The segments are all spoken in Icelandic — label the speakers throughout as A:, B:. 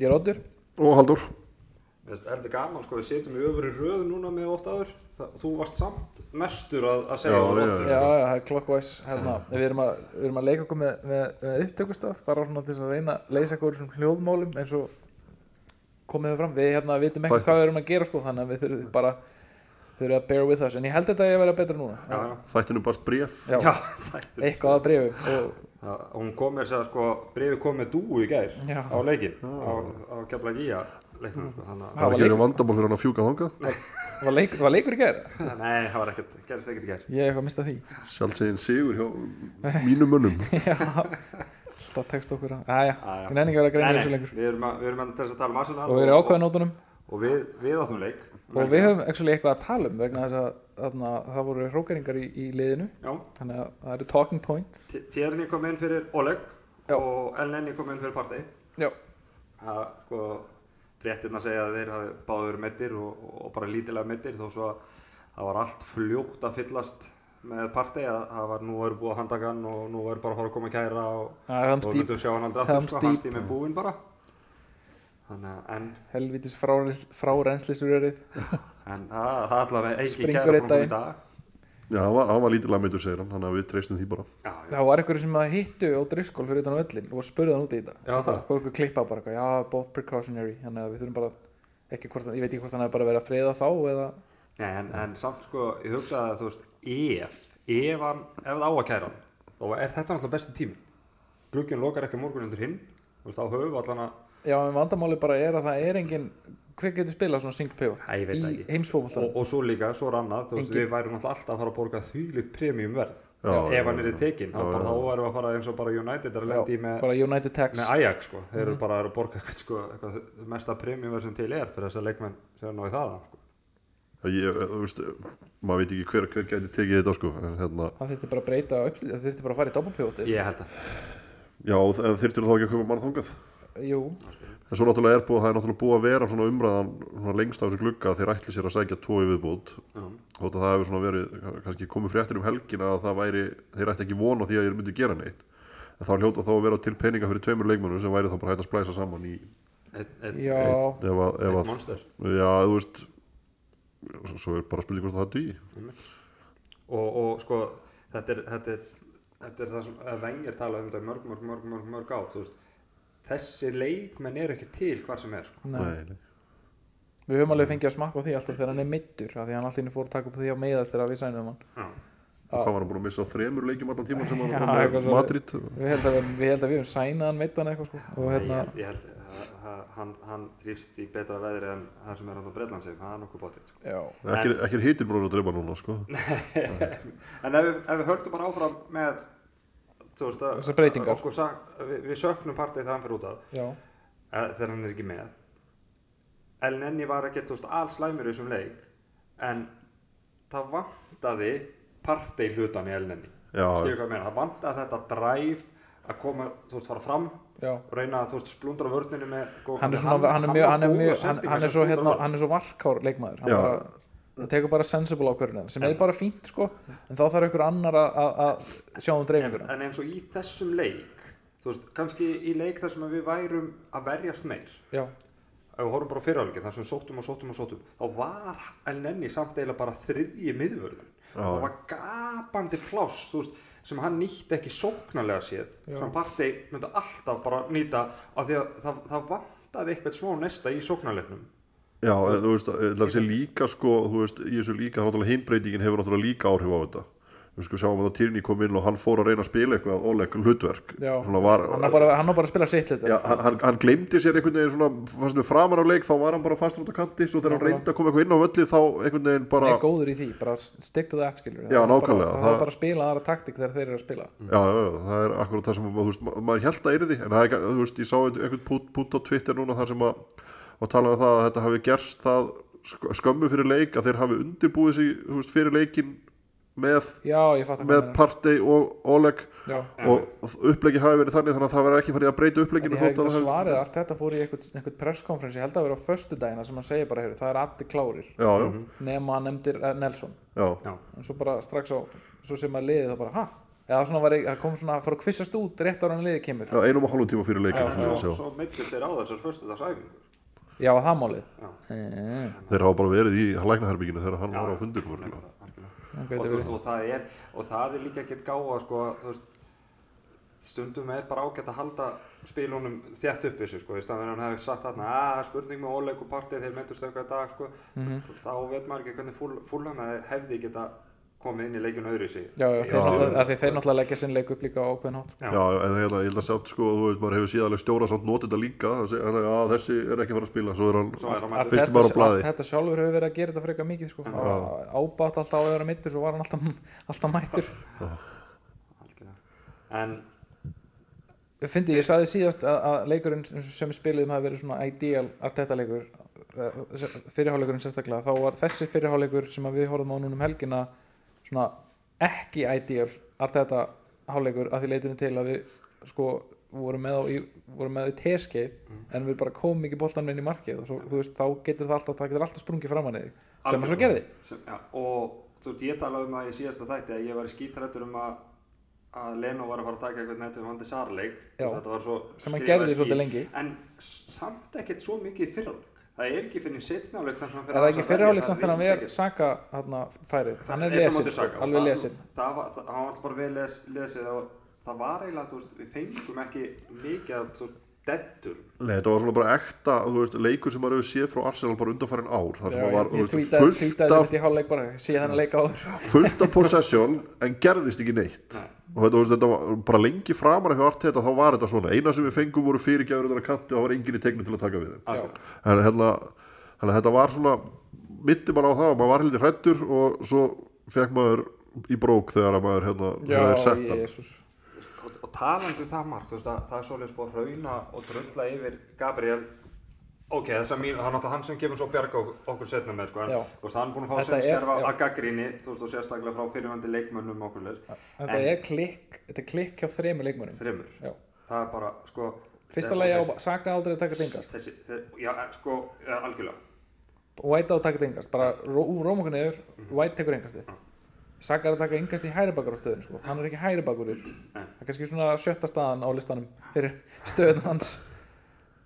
A: Ég er Oddur
B: og Haldur
C: Veist, er þetta gaman sko, við sitjum í öfri röð núna með ótt áður, það, þú varst samt mestur að, að segja
B: Já,
C: það
B: já,
C: Oddur,
A: Já,
C: sko.
A: já, það er clockwise hérna. við, erum að, við erum að leika okkur með, með, með upptökustaf bara svona til þess að reyna að leysa okkur svona hljóðmálum eins og komið við fram við hérna vitum ekki
B: Takk.
A: hvað við erum að gera sko þannig að við þurfum bara þurfum að bear with us en ég held þetta að ég vera betra núna
C: já, já.
B: Þættinu barst bréf
A: Já,
C: Já, þættur.
A: eitthvað að brefum og
C: Já, hún kom með þess að sko, brefið kom með dúu í gær
A: Já.
C: á leikin, á, á kefla gíja leiknum, sko, þannig
A: Já.
C: að,
B: Það er ekki verið vandamál fyrir hann að fjúka þangað
A: var, leik, var leikur í gæra
C: nei, það var ekkert, gerist ekkert í gær.
A: ég hef eitthvað mistað því
B: Sjálfsegin sigur hjá mínum mönnum
A: Já, alltaf tekst okkur að aðja,
C: Já, já.
A: ég nefnir ekki að
C: Nei,
A: vera að greina
C: nei,
A: þessu lengur
C: Við erum, að, við erum enn til þess að tala um Arsenal
A: og við erum ákvæðin ótunum
C: og við, við áttum leik.
A: og við höfum actually eitthvað að tala um vegna þess að þarna, það voru hrókeringar í, í liðinu
C: Já,
A: þannig að það eru talking points
C: T- Tierney kom inn fyrir Oleg
A: Já.
C: og Elneny kom inn fyrir Partey.
A: já,
C: Það, sko, fréttirna segja að þeir hafi báðu verið meittir og, og bara lítilega meittir þó svo að það var allt fljótt að fyllast með Partey að það var nú verið búið að handaka hann og nú verið bara að fara að koma að kæra og
A: það er hans
C: og
A: dýp
C: myndum sjá hann aldrei aftur
A: Thumbs
C: sko,
A: deep.
C: hans tími er búinn bara þannig að en,
A: helvitis frárennslisurörið
C: en það, það ætlar að eigi
A: Springur
C: kæra búin
A: einn
C: í
A: daginn.
C: dag
B: Já, hann var, hann var lítilega meitur segir hann Þannig að við treystum því bara
C: já, já,
A: það var einhverju sem að hittu á driskól fyrir utan völlin og spurði hann út í þetta
C: Já, það.
A: og okkur klippa bara, eitthvað, já, both precautionary þannig að við þurfum bara ekki hvort, hann- ég veit ekki hvort hann hefði bara verið að friða þá eða,
C: Nei, en, en samt sko ég hugsaði að þú veist ef, ef, hann, ef það á að kæra hann þá er þetta náttúrulega besti tími glugginn lokar ekki morgun undir hinn þú veist þá höfum við allan að
A: já, en vandamáli bara er að það er engin hver getur spilað svona single pivot
C: Æ, ég veit það
A: í
C: ekki. og,
A: heimsfókvöldan
C: og svo líka, svo er annað þú veist
A: Engin-
C: við værum náttúrulega alltaf að fara að borga þvílitt premium verð
B: Já,
C: ef,
B: já,
C: ef hann
B: já,
C: er í tekin þá
B: Já,
C: bara
B: já.
C: þá værum við að fara eins og bara United er að lendi með
A: bara United Tax
C: með Ajax sko, þeir
B: Mhm.
C: eru bara að borga eitthvað, sko, eitthvað mesta premjumverð sem til er fyrir þess að leikmenn sem ná í það sko.
B: Það ég, eh, þú veist, maður veit ekki hver, hver gæti tekið þetta sko En hérna,
A: það þurfti bara að breyta uppslið það þurfti bara að fara í doppelpivoti
C: ég held að
B: já, en þyrftir þá ekki að köpa mann þangað
A: jú,
B: En svo náttúrulega er búið, það er náttúrulega búið að vera svona umræðan svona lengst af þessu glugga að þeir ætli sér að sækja tvo í viðbútt
C: Já.
B: þótt að það hefur svona verið, kannski komið fréttir um helgina að það væri, þeir ætti ekki vona því að þeir myndu gera neitt en þá hljóta þá að vera til peninga fyrir tveimur leikmönnum sem væri þá bara hægt að splæsa saman í
C: eitt, eitt,
A: já,
B: eitt, ef að, ef
C: eitt
B: að,
C: monster
B: já, þú veist svo er bara spurning hvort það dugi
C: og, og sko, þetta er, þetta er þetta er það sem vengir tala um þetta í mörg, mörg, mörg, mörg, mörg ár þú veist, þessi leikmenn eru ekki til hvar sem er sko.
A: nei.
B: nei.
A: við höfum alveg fengið að smakka á því alltaf þegar hann er middur af því hann allir fór að taka upp því að meiðast þegar við sænum hann
C: já,
B: og hvað var hann búin að missa á þremur leikjum allan tíman sem hann
A: Já,
B: var
A: eitthvað
B: með
A: svo-
B: Madrid
A: við held að við, við, held að við höfum sænað hann meiddan eitthvað sko. og
C: ég
A: hérna,
C: held, ég held að- að- hann, hann þrýfst í betra veðri en það sem er hann á Bredlandsheim, það er nokkuð bóttið sko.
A: já,
B: ekki, ekki er hitir búin að drepa núna sko.
C: En ef við, ef við höldum bara áfram með þú veist að
A: Þessar breytingar.
C: okkur sak, við, við söknum partið þegar hann fyrir út af
A: já,
C: eh, þegar hann er ekki með El Nenni var ekki þú veist alls slæmur í þessum leik en það vantaði partið hlutan í El Nenni
B: já,
C: skilur hvað ég meina, það vantaði þetta drive að koma, þú veist, fara fram
A: já
C: og reyna að þú veist splundra vörninu með góð,
A: hann er svona, hann er mjög, hann er
C: góða
A: mjög hann,
C: sendingar
A: hann
C: sem
A: er
B: sko,
A: svo
C: splundra
A: hérna,
C: vörn.
A: hann er svo varkár leikmaður hann
B: Já.
A: bara, hann tekur bara sensible ákvörðinu sem er bara fínt sko, en þá þarf ykkur annar að- að að sjá um dreifinguna
C: en eins og í þessum leik þú veist, kannski í leik þar sem að við værum að verjast meir
A: já,
C: ef við horfum bara á fyrirháleikin þar sem við sóttum og sóttum og sóttum þá var El Nenni samt eiginlega bara þriðji miðvörður það var gapandi pláss þú veist, sem hann nýtti ekki sóknarlega séð
A: Já.
C: sem partey myndi alltaf bara nýta af því að það, það vantaði eitthvað smá nesta í sóknarleiknum
B: Já, en þú veist, ég ætla að segja líka sko, þú veist, í þessu líka, þá náttúrulega hinbreytingin hefur náttúrulega líka áhrif á þetta við sko sjáum að Tyrni kom inn og hann fór að reyna að spila eitthvað óleg hlutverk
A: já,
B: Svona var,
A: hann er bara, hann er bara að spila sitt hlutur
B: já, hann, hann, hann glemdi sér einhvern veginn svona, fannst við framar á leik þá var hann bara fastur út á kanti, svo þegar hann
A: Nákvæmlega.
B: reyndi að koma eitthvað inn á völli þá einhvern veginn
A: hann
B: bara
A: er góður í því, bara stick to that skilur
B: Já,
A: bara,
B: nákvæmlega,
A: það
B: það-
A: er bara að spila aðra taktik þegar þeir eru að spila
B: Já, já, já, það er akkurat það sem að, þú veist, ma- maður held að yrði en það er, ekki- þú veist, ég sá einhvern- einhvern punkt, punkt á Twitter núna þar sem að og tala um það að þetta hafi gerst það sk- skömmu fyrir leik að þeir hafi undirbúið sig þú veist, fyrir leikin með,
A: já, ég fatt að
B: með Partey og Oleg
A: já,
B: og upplegi hafi verið þannig þannig að það verið ekki farið að breyta
A: Ég
B: uppleginu
A: hef ekki
B: að
A: að svarið að allt þetta fór í einhvern, einhvern presskonferens, ég held að vera á föstudagina sem hann segir bara, heyr, það er allir klárir
B: Já, já,
A: nema hann nefndir eh, Nelson
B: já,
C: Mhm. já,
A: en svo bara strax á, svo sem að liði þá bara, ha, eða svona var ég, það kom svona að fara að kvissast út rétt ára en liðið kemur
B: Já, einum og hálfum tíma fyrir leik
C: Já,
B: eins og
C: svo,
B: ég sjá.
C: svo meittist þeir á þessar föstudagsæfingur
A: já, það málið
C: Já.
A: Eh,
B: Þeir hafa bara verið í læknaherbygginu þegar hann
C: Já.
B: var á sko. fundur mörgulega.
C: Algjörlega, algjörlega.
A: það
C: og,
A: gæti
C: þú veist,
A: verið.
C: og, það er, og það er líka ekkert gáða sko, þú veist, stundum er bara ágætt að halda spilunum þjætt upp þessu sko, í staðan fyrir að hann hefði sagt þarna að það er spurning með óleik og partið þeir meintust eitthvað í dag sko, þá veit maður ekki hvernig fúl, fúlham hefði geta komið inn í leikinu öðru í sig
A: já, já, þeir
B: Já.
A: náttúrulega- af því þeir náttúrulega leggja sinn leik upp líka á ákveðin hátt sko.
C: Já.
B: Já, en ég held að, ég held að samt sko, þú veit, maður hefur síðan alveg stjóra samt notið þetta líka, þessi- þannig að að þessi er ekki að fara að spila, svo er hann,
C: Svo er hann
A: Allt
C: mættur.
B: Fyrst
A: þetta-
B: bara á blaði.
A: allt þetta sjálfur hefur verið að gera þetta frekar mikið sko. Á- ábátt alltaf á að vera mittur svo var hann alltaf, alltaf mættur
C: Algjörlega. en
A: Fyndi, ég saði síðast að, að leikurinn sem- sem við spiluðum hafi verið svona ideal arteta leikur fyrirháleikurinn sérstaklega þá var þessi fyrirháleikur sem að við horfum á núna um helgina svona ekki ideal arteta háleikur að því leitinu til að við sko vorum með, á, í- vorum með í teskeið en við bara komum ekki boltan inn í markið og svo, þú veist, þá getur það alltaf, það getur alltaf sprungið framan í þig sem að svo
C: Algjörlega.
A: gerði
C: sem, já, og þú veist, ég talaði um það í síðasta þætti að ég var skítrættur um að að Leno var að fara að taka eitthvað nettum vandi sarleik
A: Já.
C: þetta var svo
A: Sem hann
C: skrifað
A: gerði
C: skýrt.
A: svolítið lengi.
C: en s- samt ekkert svo mikið í fyrraleg það er ekki finnir setna áleik þar sem hann
A: er það ekki fyrirháleik samt þannig að við er saka þarna færið, hann er lesin alveg lesin
C: það var, það, hann var bara vel les, lesið og það var eiginlega, þú veist, við fengum ekki mikið af, þú veist, dettur
B: Nei, þetta var svona bara ekta, þú veist, leikur sem maður hefur séð frá Arsenal bara undanfærin ár, þar sem
A: Já,
B: maður var,
A: ég-
B: þú
A: ég
B: veist,
A: tweetaði
B: fullt
A: tweetaði
B: af,
A: þetta í hálfleik bara síðan hann leika áður
B: fullt af possession, en gerðist ekki neitt.
C: Nei.
B: Og þetta, þú veist, þetta var bara lengi framar hjá allt þetta, þá var þetta svona, eina sem við fengum voru fyrirgjafur þetta kanti og það var enginn í tegnum til að taka við þeim.
C: Algjörlega.
B: En hérna, þannig að þetta var svona, mitti bara á það, og maður var heldur hrættur og svo fekk maður í brók þegar að maður, hérna, þegar þeir sett hann.
A: Jesús
C: og, og talandi um það margt þú veist að það er svolítið sko að rauna og drulla yfir Gabriel ok, þess að mín, það er náttúrulega hann sem kemur svo að bjarga ok- okkur setna með sko en
A: Já.
C: þú veist, hann er búin að fá
A: Þetta
C: sem
A: er-
C: skerfa
A: já.
C: að gaggríni þú veist og sérstaklega frá fyrirvandi leikmönnum og okkur leir
A: þetta er klikk, þetta er klikk hjá þremur leikmönnum
C: þreymur,
A: Já.
C: það er bara sko
A: fyrsta
C: þeir-
A: lagi á
C: og
A: saka aldrei að taka
C: þeir-
A: dengast
C: þessi, þeir, já eh, sko, eh, algjörlega
A: white á að taka dengast, bara ró- úr rómokan yfir white tekur engasti saka er að taka engast í hæri bakar á stöðun sko. hann er ekki hæri bakur
C: Nei.
A: það er kannski svona sjötta staðan á listanum fyrir stöðun hans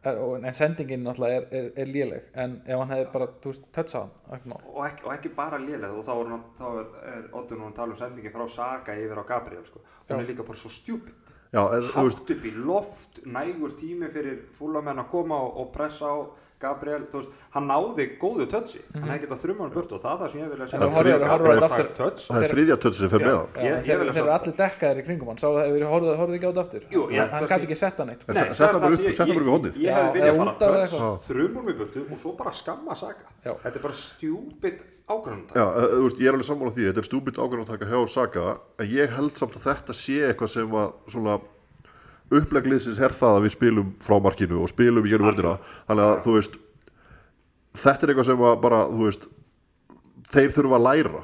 A: Er- og- en sendingin náttúrulega er, er, er léleg en ef hann hefði bara, þú veist, tötsa hann ekki mál.
C: og ekki, og ekki bara lélega og þá er, hann- þá er, er Ottun hún að tala um sendingi frá Saga yfir á Gabriel sko hún er líka bara svo stjúpid
B: Já, en, þú veist,
C: hátt upp í loft, nægur tími fyrir fúlamenn að koma og, og pressa á Gabriel, þú veist, hann náði góðu tötsi, hann hefði getað þrjumann burt og það er það sem ég vilja
A: En
C: segja
B: þú horfir-
C: Gabriel
B: horfir á þetta
C: fær
A: aftur.
C: touch.
B: það er þriðja töttu sem fer
C: Já.
B: með hann.
A: Já,
C: Ég-
A: en
C: ég
A: þeir,
C: vil að
A: þeir eru
C: sjá-
A: allir dekkaðir í kringum hann sá það hefur horfðið horfðu ekki á þetta aftur
C: Jú, ég-
A: hann
C: það sé-
A: gæti ekki sett hann eitt sko.
B: En- se- setta
C: það
B: bara
C: sem
B: upp-
C: ég-
B: setta bara upp í
C: ég-
B: hornið.
C: Ég
A: Já,
C: hefði viljað
A: eða
C: bara
A: út af
C: tötts,
A: eitthvað.
C: þrjumann í burtu og svo bara skamma Saga.
A: Já.
C: Þetta er bara stjúpid ákvörðundag.
B: Já, eh, þú veist, ég er alveg sammála því, þetta er stúbilt ákvörðantaka hjá Saga, en ég held samt að þetta sé eitthvað sem að svona upplegliðsins er það að við spilum frá markinu og spilum í gerum vörðina, þannig að þú veist, þetta er eitthvað sem að bara, þú veist, þeir þurfa að læra,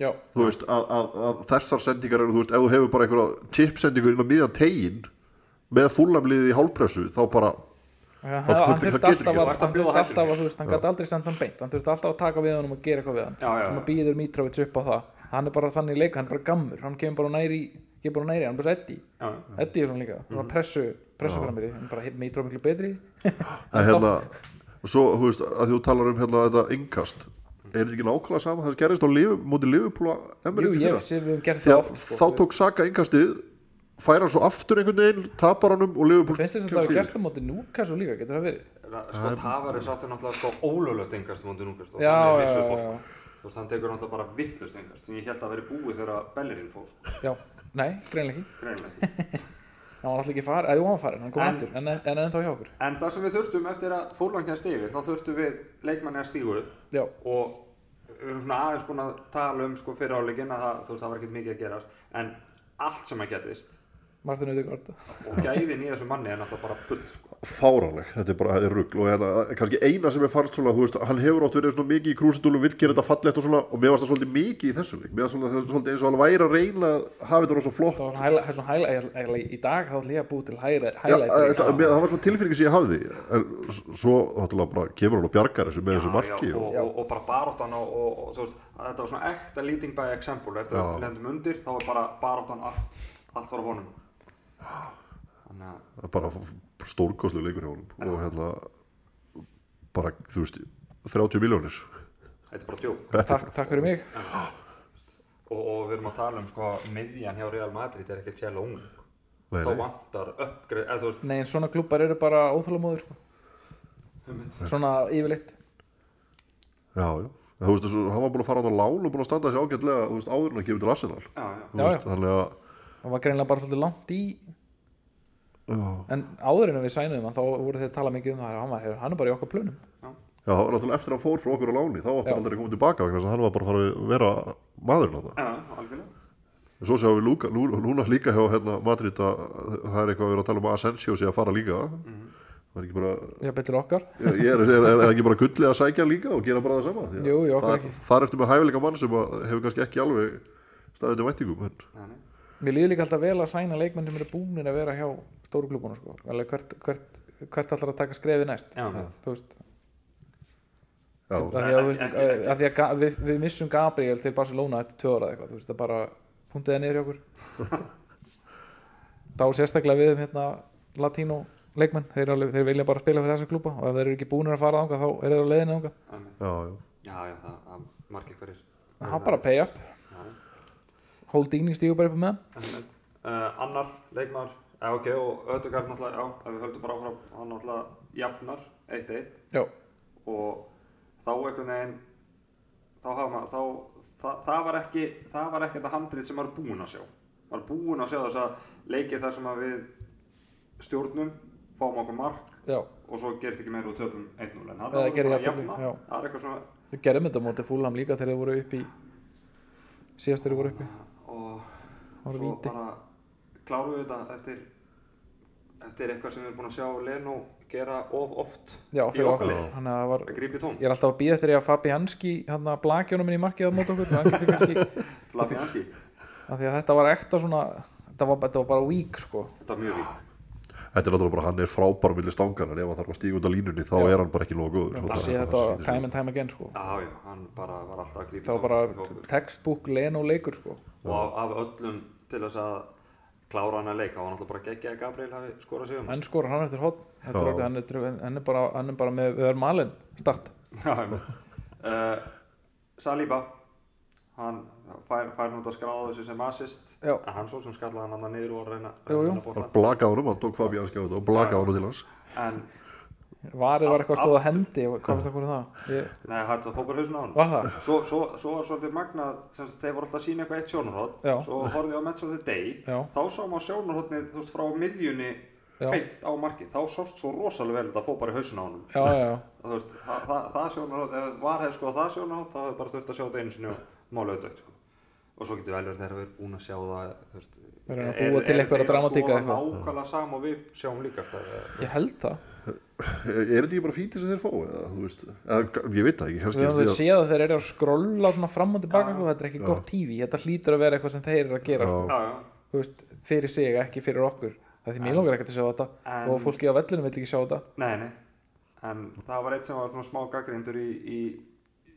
A: já,
B: þú veist, að, að, að þessar sendingar eru, þú veist, ef þú hefur bara einhverja chipsendingur inn á miðan tegin með fullamliðið í hálfpressu, þá bara,
A: hann,
B: það-
A: hann
B: það
A: þurfti
B: getur
A: alltaf
B: ekki.
A: að
C: Þú ert að
A: hann
C: bjóða
A: þurfti alltaf
C: hættunni.
A: að þú veist, hann gæti aldrei sendt hann beint hann þurfti alltaf að taka við hann og gera eitthvað við hann
C: Já, já,
A: sem
C: já.
A: að býður Mitrovic upp á það hann er bara þannig leik, hann er bara gammur hann kemur bara næri, kemur bara næri, hann er bara eddi
C: Já. Mhm.
A: eddi er svona líka, hann er bara pressu pressu framir í, hann er bara Mitrovic miklu betri
B: en hérna, og svo, þú veist, að þú talar um hérna þetta innkast, er þetta ekki nákvæmlega sama það sem gerist á lifu, móti Liverpool að
A: jú,
B: Emirates í
A: ég
B: fyrra?
A: sé við höfum gert
B: því
A: það
B: að
A: oft sko.
B: þá tók Saka yngastið færa hann svo aftur einhvern veginn tapar hann um og Liverpool
A: finnst þess að það var gerst á móti núkas og líka, getur það verið
C: Sko, Tavares átti náttúrulega sko ólöflögt engast mútið núngast og
A: Já,
C: þannig er
A: já,
C: vissu
A: já,
C: bótt.
A: já.
C: Þú veist, hann tekur náttúrulega bara vittlust engast sem ég held að veri búið þegar Bellerín fór, sko,
A: já, nei, greinlega ekki
C: greinlega.
A: hann var alltaf ekki farin, að jú, hann var farin, hann kom
C: En-
A: aftur en, en, en ennþá hjá okkur,
C: En það sem við þurftum eftir að fólangja stígur, þá þurftum við leikmanni að stígu upp
A: já
C: og við erum svona aðeins búin að tala um sko fyrir áleikin að það, þú veist, það var ekkert mikið að gerast en allt sem að gerðist
A: Martin Ödegard
C: og gæðin í þessu manni er náttúrulega bara bull sko.
B: fáranleg, þetta er bara þetta er rugl og hérna, kannski eina sem er fannst svona, þú veist, hann hefur átt verið svona mikið í krúsindúlum, vill gera þetta fallegt og svona og mér varst það svolítið mikið í þessum leik mér varst svona, svolítið eins og hann væri að reyna að hafa þetta rosa flott
A: það var hæla, hæla, hæla, hæla, í dag þá ætla ég að búi til hæla,
B: Já,
A: hæla
B: þetta, mér, það var svona tilfinningi sem ég hafði en s- svo náttúrulega bara kemur hann og bjargar þessu með þessu marki
C: já, og,
B: og,
C: og, og bara baráttan og, og, og þú veist, að þetta var svona ekta leading by example eftir
B: Já.
C: að við lendum undir þá er bara baráttan allt, allt var á honum þannig að
B: það er bara stórkoslu leikur hjá honum og hérna bara, þú veist, 30 miljónir
C: þetta er bara djók
A: takk, takk fyrir mig
C: og, og við erum að tala um sko miðjan hjá Real Madrid er ekkert sérlega ung
B: Nei,
C: þá
B: nei.
C: vantar uppgrið eða þú veist
A: nei en svona klubbar eru bara óþálamóður sko. svona yfirleitt
B: Já, já En Þú veist, þessu, hann var búin að fara á það lán og búin að standa þessi ágætlega, þú veist, áður en að kemur til Arsenal
C: já, já.
B: Þú
A: Já,
B: veist,
A: já.
B: Þannig að
A: það var greinlega bara svolítið langt í
B: já.
A: en áður en við sænum hann þá voru þeir að tala mikið um það hann, var, hann er bara í okkar plönum
B: Já, það var náttúrulega eftir að hann fór frá okkur á láni þá átti
A: Já.
B: hann aldrei að koma tilbaka vegna þess að hann var bara að fara að vera maðurinn á það
C: já, algjörlega
B: Svo séum við Lúka, Lú, núna líka hjá hérna, Madrid að það er eitthvað að vera að tala um að Asensio sé að fara líka
A: Mhm.
B: Það er ekki bara
A: já betur okkar
B: ég er, er, er, er ekki bara gullið að sækja hann líka og gera bara það sama Því að
A: Jú, jú, okkur
B: það,
A: ekki.
B: það er eftir með hæfileika mann sem að hefur kannski ekki alveg staðið til væntingum en,
C: Nei, nei.
A: Mér líður líka alltaf vel að sæna leikmenn sem eru búnir að vera hjá stóru klubunum sko. Alveg hvert, hvert, hvert allar að taka skrefið næst
C: Já,
A: Þú
C: mitt.
A: veist,
B: já,
A: að því að, þú
C: Ekki-
A: veist,
C: ekki- ekki-
A: að, því að ga- við, við missum Gabriel til Barcelona eftir tvö ára eða eitthvað þú veist, það bara punktið er niður hjá okkur þá sérstaklega við um hérna latínó leikmenn, þeir, eru alveg, þeir vilja bara spila fyrir þessa klúpa og ef þeir eru ekki búnir að fara þangað þá eru þeir á leiðinu þangað
C: Það er mitt.
B: já, já.
C: já, já, það það er margir hverjir
A: það er bara pay up,
C: Já.
A: holding stígur bara upp með hann
C: Einmitt. uh, annar leikmaður já, ok, og Ödegard náttúrulega já, ef við höldum bara áfram, hann náttúrulega jafnar 1-1
A: Já,
C: og þá einhvern veginn þá hafa maður þá, það, það var ekki það var ekki þetta handrið sem maður er búinn að sjá maður er búinn að sjá þess að leikið þar sem að við stjórnum fáum okkur mark
A: já,
C: og svo gerist ekki meira og töpum 1-0 en það
A: Eða
C: var
A: gerir
C: bara
A: jafntefli,
C: jafna
A: já.
C: það er eitthvað svona
A: þau gerðum þetta á móti fúlam líka þegar þeir voru upp í síðast þeir voru uppi
C: og
A: Það var
C: svo
A: víti.
C: bara klárum við þetta eftir eftir eitthvað sem við erum búin að sjá Leno gera of oft
A: Já,
C: í
A: fyrir okkur
C: lið.
A: Þannig að það var
C: að grípi tóm
A: Ég er alltaf að býða eftir því að Fabi Hanski hann að blakja honum inn í markið á mót okkur hann getur kannski,
C: Flafi Hanski,
A: af því að þetta var ekta svona þetta var, þetta var bara weak sko
C: þetta var mjög vík
B: Þetta er náttúrulega bara hann er frábær millir stangan en ef hann þarf að stíga út af línunni þá
A: Já.
B: er hann bara ekki nógu góður svo
A: það sé
B: er
A: þetta
B: bara-
A: time and time again sko
C: Já, já, hann bara var alltaf að grípa
A: það var bara textbook len og leikur sko
C: Og af, af öllum til þess að klára hann að leika og hann alltaf bara geggja að Gabriel hafi skorað sig um
A: en skora hann eftir hot
B: Já.
A: hann, er- hann, er bara, hann er bara með við erum alinn start
C: Já, einmitt. uh, Saliba hann fær, fær nút að skráða þessu sem assist
A: Já.
C: en hann svo sem skallaði hann annað niður og var að reyna,
A: Jú, jú.
C: reyna
B: Hann
C: bóttan
B: blakaði honum, hann tók Fabi Hanski á þetta og blakaði honum til hans
C: en
A: varið var eitthvað að skoða hendi og hvað finnst um það hvernig það ég,
C: Nei, hætti að hópar hausin á hann
A: var það
C: svo, svo, svo var svolítið magnað sem sagt, þeir voru alltaf að sína eitthvað eitt sjónarhótt
A: Já.
C: svo horfði ég á Match of the Day
A: Já.
C: þá sá maður sjónarhóttni þú veist frá miðjunni
A: Já.
C: beint á markið þá sást svo rosalega vel þetta fópar í hausin á hann
A: já, já, já,
C: þú veist, það, það, það sjónarhótt ef var hefði skoðað það sjónarhótt þá hefði bara þurft að sjá þetta einu sinni og mála auðvitað sko. og svo getur vel verið þegar við erum búin að sjá það þú veist,
A: Við erum að búa til einhverja dramatík eða
C: eitthvað
A: eitthvað.
C: nákvæmlega sama og við sjáum líka sko. alltaf eða-
A: ég held það
B: Er er þetta ekki bara fítið sem þeir fá? Eða, þú veist, eða, ég veit það ekki, kannski
A: við höfum
B: því
A: við
B: að-
A: séð að þeir eru að skrolla svona fram og tilbaka
C: Já.
A: sko, þetta er ekki gott TV þetta hlýtur að vera eitthvað sem þeir eru að gera
B: Já.
A: sko.
C: Já, já.
A: þú veist, fyrir sig ekki fyrir okkur það er því mér langar ekkert að sjá þetta
C: en-
A: og fólki á vellinu vill ekki sjá þetta
C: Nei, nei, en það var eitt sem var svona smá gaggrindur í, í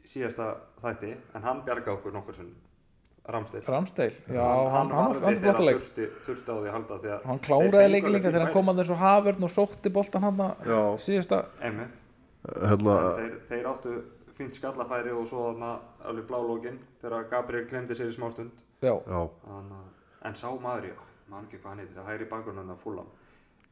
C: síðasta þætti, en hann bjarga okkur nokkur sem ramstil.
A: Ramsteil, já, hann, hann, hann, hann
C: þegar
A: flotta leik
C: þurfti, þurfti á því að halda því að
A: hann
C: þeir
A: kláraði
C: fengu
A: leik líka
C: alveg
A: þegar hann
C: fín
A: kom
C: færi.
A: að þessu hafverðn og sótti boltan hann að
B: Já.
A: síðasta
C: Einmitt,
B: hérna,
C: þeir, þeir áttu fínt skallafæri og svo þarna alveg blálókin þegar Gabriel glemdi sér í smástund.
A: já,
B: já,
C: Þannig, að- en sá maður í, maður ekki hvað hann heitir, að hægri bakunum að fúlam.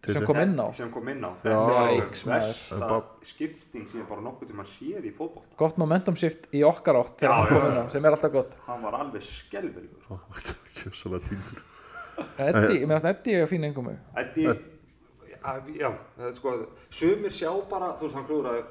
A: sem
B: Titti.
A: kom inn á
C: Sem kom inn á.
A: Yikes, maður.
B: En
C: versta
B: bara-
C: skipting sem ég bara nokkuð tíma séð í fótbolt.
A: gott momentum shift í okkar átt
C: Já,
A: þegar hann kom
C: já,
A: inn á,
C: já.
A: sem er alltaf gott
C: Hann var alveg skelvelgur.
B: kjössalega týndur
A: Eddi, mér finnst Eddi að fína einhverjum
C: Eddi, að- já, það er sko, sumir sjá bara, þú veist, hann klúraði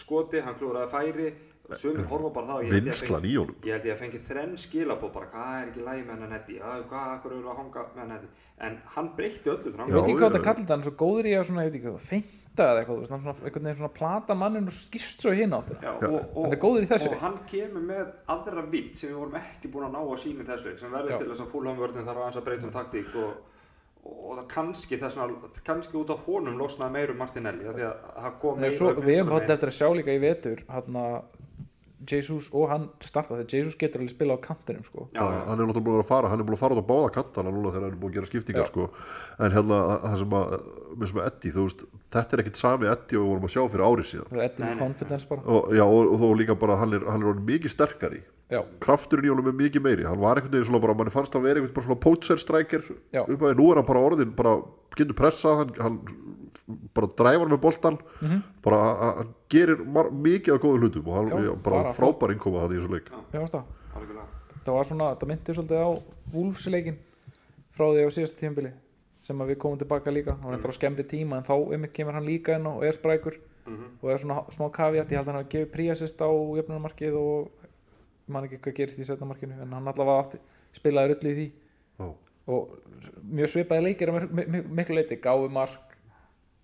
C: skoti, hann klúraði færi, sömur horfa bara það og ég held ég að
B: vinslan
C: fengi-
B: í honum
C: ég held ég að fengi þrenn skilabóð bara hvað er ekki lægi með hennan netti að hvað, akkur eru að hanga með hennan netti en hann breytti öllu þannig
A: Ég
C: að
A: veit
B: Já,
A: ekki hvað
B: já,
A: þetta
B: já.
A: kallir hann er svo góður í að svona, ég veit ekki hvað, feinta eða eitthvað, þú veist, hann svona, einhvern veginn svona plata mannin og skýrst svo í hinn áttina.
C: Já, og, og,
A: Hann er góður í þessu.
C: og hann kemur með aðra vitt sem við vorum ekki búin að ná að sína í þessu leik sem verður
A: Já.
C: til þess að fúlhamvörðin þarf aðeins að breyta um taktík og, og það kannski þess að kannski út af honum losnaði meiru Martinelli af því að það kom
A: Nei,
C: meira
A: svo,
C: upp
A: við hefum
C: vinstri
A: hótt
C: megin.
A: eftir að sjá líka í vetur, hann að Jesus og hann starta þegar Jesus getur alveg spila á kantinum, sko.
C: Já,
B: Já, hann er náttúrulega búin að vera að fara, hann er búin að fara út á báða kantana núna þegar hann er búin að gera skiptingar
A: Já.
B: sko. en hérna það sem að með sem að Eddi, þú veist, þetta er ekkit sami Eddi og við vorum að sjá fyrir árið síðan
A: Það er eddi
C: Nei,
A: með
C: nei,
A: confidence bara.
B: og, já, og, og þó líka bara að hann er, hann er orðinn mikið sterkari
A: Já,
B: krafturinn í honum er mikið meiri, hann var einhvern veginn svona bara, mann fannst að vera einhvern bara svona poacher striker
A: Já.
B: upp að nú er hann bara orðin bara getur pressað, hann, hann bara dræfar með boltan bara hann- hann gerir mar, mikið af góðum hlutum og hann
A: Já,
B: já, bara,
A: bara
B: bara frábær innkoma hann í þessu leik
A: ég varst það.
C: algjörlega.
A: Það var svona, það myndi svolítið á Wolfsleikin frá því á síðasta tímabili sem að við komum tilbaka líka, hann er bara
B: Mhm.
A: skemmri tíma en þá einmitt kemur hann líka inn og er sprækur
C: Mhm.
A: og er svona smá kaviat, ég held að hann hafi gefið príasist á jöfnunarmarkið og ég man ekki hvað gerist í setnamarkinu en hann allavega átti, spilaði rullu í því
B: Já.
A: og mjög svipaði leikir að mik- mik- miklu leiti, gáðu mark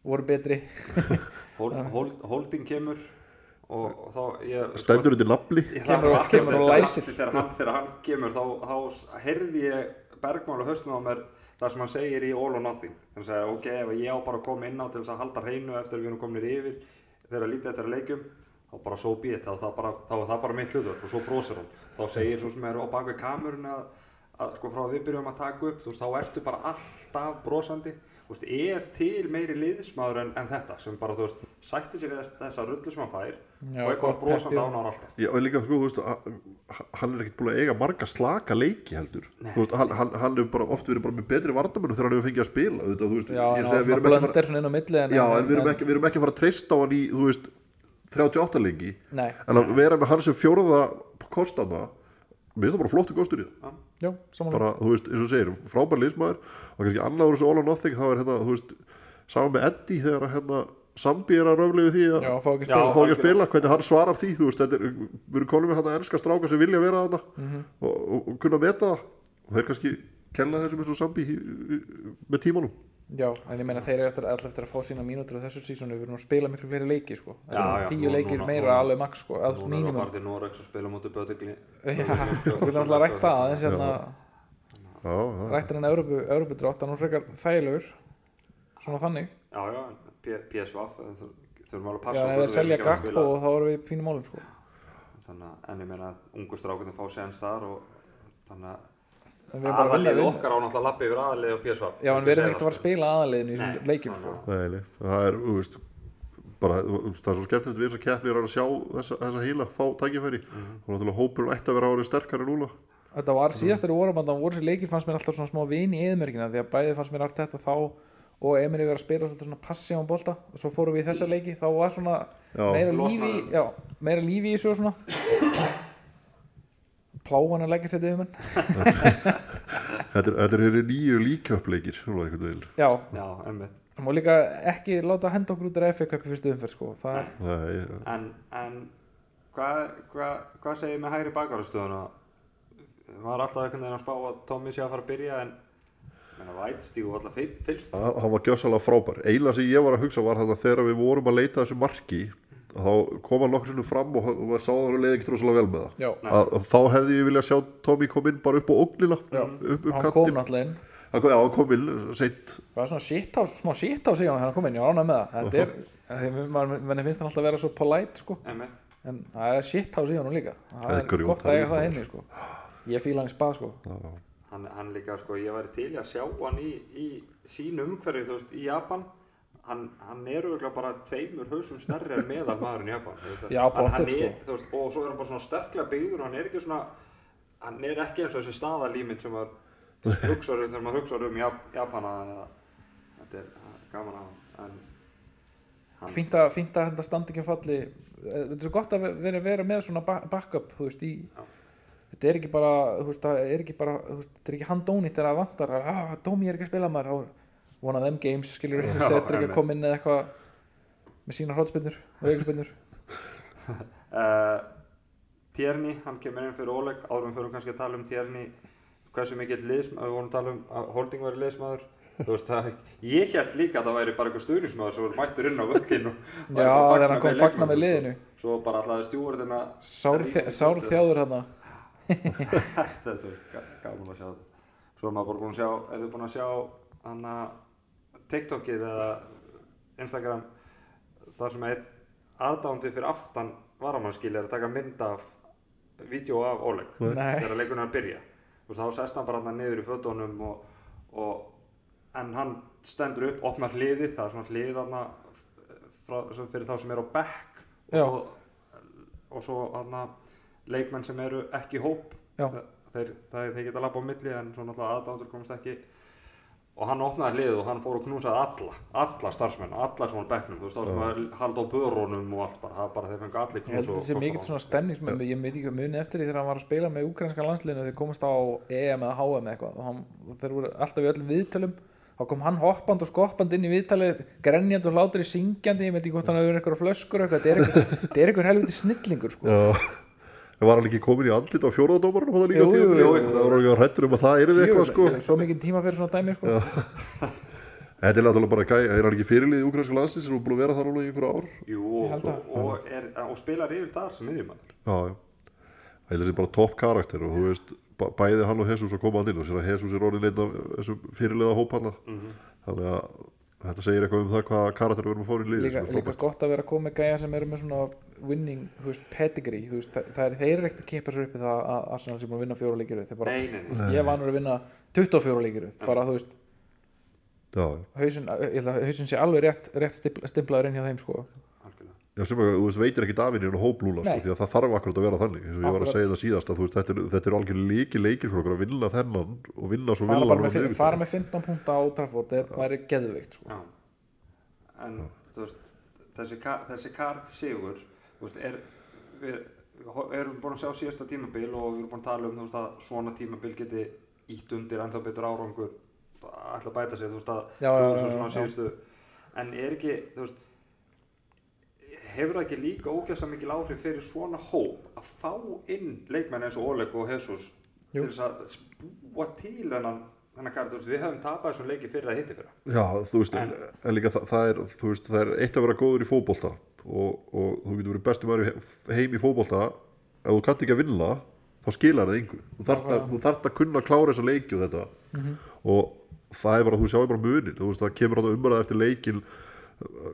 A: voru betri
C: Hol, hol, holding kemur og, og þá ég,
B: stendur undir nafli
C: Ég-
A: Kemur
C: það-
A: og- kemur og
C: þegar-
A: læsir.
C: þegar hann, þegar hann kemur þá, þá heyrði ég bergmála höstum á mér það sem hann segir í all or nothing þannig að ok, ef ég á bara að koma inn á til þess að halda hreinu eftir að við erum kominir yfir þegar að lítið eftir að leikum þá bara so be it, þá, þá, bara, þá er það bara mitt hlutverk og svo brosir hann, þá segir svo sem er á bakvið kamerun að, að sko frá að við byrjum að taka upp, þú veist, þá ertu bara alltaf brosandi, þú veist, er til meiri liðsmaður en, en þetta sem bara, þú veist, sætti sér við þess, þessa rullu sem hann fær
A: Já,
C: og
A: gott
C: eitthvað brosandi
A: peppi.
C: ánáðar alltaf
B: Já, en líka, sko, þú veist, að- hann er ekkert búin að eiga marga slaka leiki heldur Þú veist, hann, hann, hann hefur bara oft verið bara með betri vartamennu þegar hann hefur fengið að spila þetta, þú veist,
A: já,
B: ég
A: en
B: segi
A: það
B: að við
A: var
B: erum ekki að
A: blöndir svona inn á milli
B: fara já, en við erum ekki, við erum ekki að fara að treysta á hann í, þú veist, 38 leiki
A: nei,
B: en að vera með hann sem fjórða kostanda, mér finnst það bara flottu kostur í það
A: já, samanlega
B: bara, þú veist, eins og þú segir, frábær liðsmaður og kannski annar úr þessu all or nothing þá er hérna, þú veist, saman með Eddie þegar að, hérna, Sambi er að röfli við því að
A: já, fá ekki
C: Já,
A: spila
B: fá ekki að spila, hvernig hann svarar því þú veist, þetta er, við erum konum með hann að ennska stráka sem vilja vera þarna
A: Mhm.
B: og, og, og kunna meta það og þeir kannski kenna þessum eins og sambi með tímanum
A: Já, en ég meina þeir eru eftir, alltaf eftir að fá sína mínútur á þessu sísónu, við erum að spila miklu fleiri leiki sko.
C: Já, já,
A: tíu
C: nú-
A: leikir
C: núna-
A: meira
C: núna-
A: alveg max sko, að þú
C: Núna erum við
A: mínimum
C: bara til Norex og spila mútið Böðugli
A: Já, við erum alltaf að rækta það aðeins hérna,
B: já, já,
A: rækta hann Európu, Európu drátt, hann er frekar þægilegur svona þannig,
C: Já, já, en P- PSV en þur- þurfum alveg að
A: já,
C: passa
A: en
C: okkur,
A: ef þeir
C: við
A: selja
C: erum ekki að
A: Gakpo og þá erum við í fínum málum sko.
C: spila- Þannig að, en ég meina, ungu strákunum fá séns þar og þannig að
A: en við erum bara að
C: aðalið
A: vinna
C: Ah, okkar á náttúrulega lappi yfir aðalið og PSV
A: Já, en við erum ekkert að fara
C: Segðu
A: að spila aðalegin í þessum
C: Nei,
A: leikjum
C: nei,
A: sko.
C: nei.
B: Nei, nei, það er, þú veist bara, þú veist, það er svo skemmtilegt við þessar keppnir að sjá þessa, þessa heila fá tækifæri
A: Mhm.
B: og náttúrulega hópurinn ætti að vera árið sterkari núna
A: Þetta
B: Mhm.
A: var síðast þegar vorum að það voru þessi leikir fannst mér alltaf svona smá vin í eðmerkina því að bæði fannst mér allt þetta þá og Emir yfir að spila svolítið svona passi á bolta og svo fórum við í þessa leiki, þá var svona
B: Já.
A: meira lífi,
C: Losnaði.
A: já, meira lífi í þessu og svona pláan að leggja þetta yfir menn
B: þetta er- þetta eru nýju líkjöpleikir svona einhvern veginn
A: Já,
C: það. Já, emmitt
A: það má líka ekki láta henda okkur út af FA Cup í fyrstu umferð sko, það er
B: Nei,
C: En, en hvað hva, hva segir með hægri bakarastöðuna? Var alltaf einhvern veginn að spá að Tommy sé að fara að byrja en menna, vætstíg og alltaf fylgst
B: Hann hann var gjössalega frábær. Eila sem ég var að hugsa var þannig að þegar við vorum að leita að þessu marki þá kom hann nokkur sinnum fram og og maður sá það og leiði ekki droslega vel með það.
A: Já,
B: Að, að þá hefði ég viljað sjá Tommy kom inn bara upp á ógnina, upp, upp
A: hann kom
B: kantinn.
A: náttúrulega inn
B: Hann kom, já, hann kom inn seint.
A: Það var svona shit á, smá shit á sig hann þegar hann kom inn, ég var ánægð með það Þetta er, þegar maður manni finnst hann alltaf að vera svo polite sko
C: Emmitt
A: en það er shit house í honum líka það er
B: Gaukur, jú,
A: gott
B: það
A: að
B: er
A: eiga það
B: maður.
A: henni sko. ég fíla hann í spa sko.
B: Já, já.
C: hann, hann líka sko, ég væri til í að sjá hann í, í sínu umhverfi, þú veist, í Japan hann, hann er auðvitað bara tveimur hausum stærri en meðal maðurinn í Japan þú veist það.
A: Já,
C: Hann- hann
A: pottet,
C: er, þú veist, og svo er hann bara svona sterklega byggður og hann er ekki svona hann er ekki eins og þessi staðalímit sem maður hugsaður þegar maður hugsaður um Jap- Japana þetta er gaman að hann, hann
A: fínt að, fínt að þetta standi ekki um falli þetta er svo gott að vera, vera með svona ba- backup þú veist, í,
C: Já.
A: þetta er ekki bara þú veist, það er ekki bara þú veist, þetta er ekki handónýtt þegar það vantar að ah, Dómi er ekki að spila maður þá er one of them games skilur
C: Já,
A: við setur ekki
C: einmitt.
A: að koma inn eða eitthvað með sína hrótspinnur og aukaspinnur
C: Uh, Tjerni, hann kemur inn fyrir Oleg áður en við fyrir kannski að tala um Tjerni hversu mikill liðsmaður, við vorum að tala um að Holding væri liðsmaður þú veist það, ég held líka að það væri bara einhver stuðnismaður sem voru mættur inn á völlin og var
A: Já,
C: eitthvað að
A: þegar hann kom
C: með
A: fagna með
C: leikmönnum,
A: liðinu.
C: sko. svo bara alltaf stjúvarðin að
A: Sár,
C: ríka í
A: sár
C: burtu.
A: þjáður hann
C: Þetta er þú veist, ga- gaman að sjá þetta. Svo er maður bara búin að sjá, ef þið búin að sjá hann að TikTokið eða Instagram þar sem einn aðdándi fyrir aftan varamannskili er að taka mynd af vídeo af Oleg
A: Nei.
C: þegar leikurinn er að byrja og þá sest hann bara hann niður í fötunum og, og en hann stendur upp, opnar hliðið það er svona hliðið hann fyrir þá sem er á bekk og
A: Já.
C: svo, og svo hann leikmenn sem eru ekki í hóp
A: Já.
C: þeir, þeir, þeir geta labba á milli en svo náttúrulega aðdándur komast ekki og hann opnaði hliðið og hann fór og knúsaði alla alla starfsmenn, alla sem var á bekknum þú veist þá sem var hald á börunum og allt bara, það bara þeir fengi allir
A: Ég held
C: knús
A: að
C: og
A: þetta sé
C: kossar
A: mikill
C: og-
A: svona stemningsmönd ég veit ekki hvað muni eftir því þegar hann var að spila með ukrainskan landsliðinu þegar komast á EM eða HM eða eitthvað og hann, og þeir voru alltaf í öllum viðtölum þá kom hann hoppand og skoppand inn í viðtalið grenjandi og hlátri syngjandi ég veit ekki hvort hann hefur einhverja flöskur og eitthvað þetta er einhver- þetta er einhver helviti snillingur sko.
B: Já Það var hann ekki komin í andlit á fjóraðadómarinn og það líka
A: Jú, jú,
B: tímabili?
A: jú, jú.
B: Það var hann ekki hrættur um að það erið eitthvað sko
A: Ég- svo mikið tíma fyrir svona dæmi sko.
B: Þetta er náttúrulega bara gæ, er hann ekki fyrirlið í ukrainsku landsins og búin að vera þar alveg í einhverja ár
C: Jú,
A: Ég
C: og,
A: held að-
C: og, og, er, og spilar yfir þar sem miðjumann
B: Já, já Það er þessi bara topp karakter og þú veist bæ- bæði hann og Jesus að koma hann inn og sér að Jesus er orðin einn af þessum fyrirliða hóp hann þannig að þetta segir eitthvað um það hvað karakter við erum að fóra í liði
A: líka, líka gott að vera að koma með gæja sem eru með svona winning þú veist, pedigree þú veist, það, það er, þeir eru ekkert að kippa svo upp í það að Arsenal sem er að vinna fjóra leikir við bara,
C: Nei, nei, nei.
A: ég er vanur að vinna 24 leikir við bara þú veist
B: Já, já.
A: hausin, eh, ég held að hausin sé alveg rétt, rétt stimpla- stimplaður inn hjá þeim sko
C: algjörlega
B: Já, sem að þú veist, veitir ekki Davín í enn hóp núna sko,
A: Nei.
B: því að það þarf akkurat að vera þannig eins og ég var að
A: Akkurat.
B: segja það síðast að þú veist, þetta er, þetta er algjör líki leikir fyrir okkur að vinna þennan og vinna svo
A: fara,
B: villan
A: bara með, fi- fara með 15 punta á Trafford það væri geðveikt sko
C: Já. En þú veist, þessi, ka- þessi kart sigur, þú veist, er, við, við ho- erum búin að sjá síðasta tímabil og við erum búin að tala um þú veist að svona tímabil geti ítt undir ennþá betur árangur, ætla að bæta sig, þú veist að
A: Já,
C: þú
A: já,
C: veist
A: já,
C: svona
A: já.
C: síðustu, en er ekki, þú veist, hefur það ekki líka ógæsa mikil áhrif fyrir svona hóp að fá inn leikmenn eins og Oleg og Jesus
A: Jú.
C: til þess að búa til þennan, þennan kart, þú veist, við hefum tapað þessum leiki fyrir að hitti fyrir.
B: Já, þú veist, en,
C: En-
B: en líka það, það er þú veist, það er eitt að vera góður í fótbolta og, og þú getur verið bestu maður í he- heim í fótbolta ef þú kannt ekki að vinna þá skilar það yngu þú þarft að, þú þarft að kunna að klára þessa leiki og þetta
A: Mhm.
B: og það er bara, þú sjáir bara munin þú veist, það kemur á það umræða eftir leikil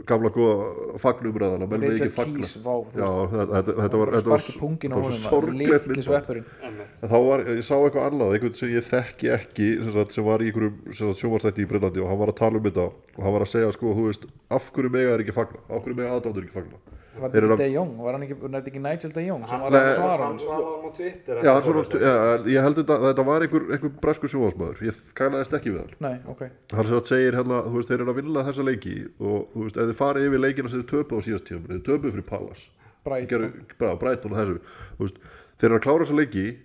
B: gamla góða fagnumræðana menn með
A: Richard
B: ekki fagna
A: Keys, vá, þú veist.
B: Já, þetta, þetta, þetta var, þetta var,
A: sparki pungin á
B: þetta var
A: honum
B: svo
A: maður,
B: sorglegt
A: litli
B: myndband.
A: sveppurinn
C: Einmitt.
B: En þá var, ég sá eitthvað annað, einhvern sem ég þekki ekki sem, sagt, sem var í einhverjum sem sagt, sjómarstætti í Breitlandi og hann var að tala um þetta og hann var að segja sko, þú veist, af hverju mega er ekki fagna, af hverju mega aðdándur ekki fagna
A: var
B: Þeir eru
A: þetta
B: að-
A: De Jong, var hann ekki, var þetta ekki Nigel De Jong sem var
B: Nei.
A: að svara
C: hann
A: hann sko.
C: svaraði hann á Twitter
B: Já, hann svona, ja, ég held þetta, þetta var einhver, einhver breskur sjómarstæður, ég kælaðist ekki við hann
A: nei, ok,
B: hann sem sagt segir hérna, þú veist, þeir eru að vinna þessa leiki og þú veist, ef þið farið yfir leikina sem þið töpuð á síðast tíum, þið töpuð fyrir Palace
A: bræt
B: gerðu bara Brighton og þessu þú veist, þeir eru að klára þessa leiki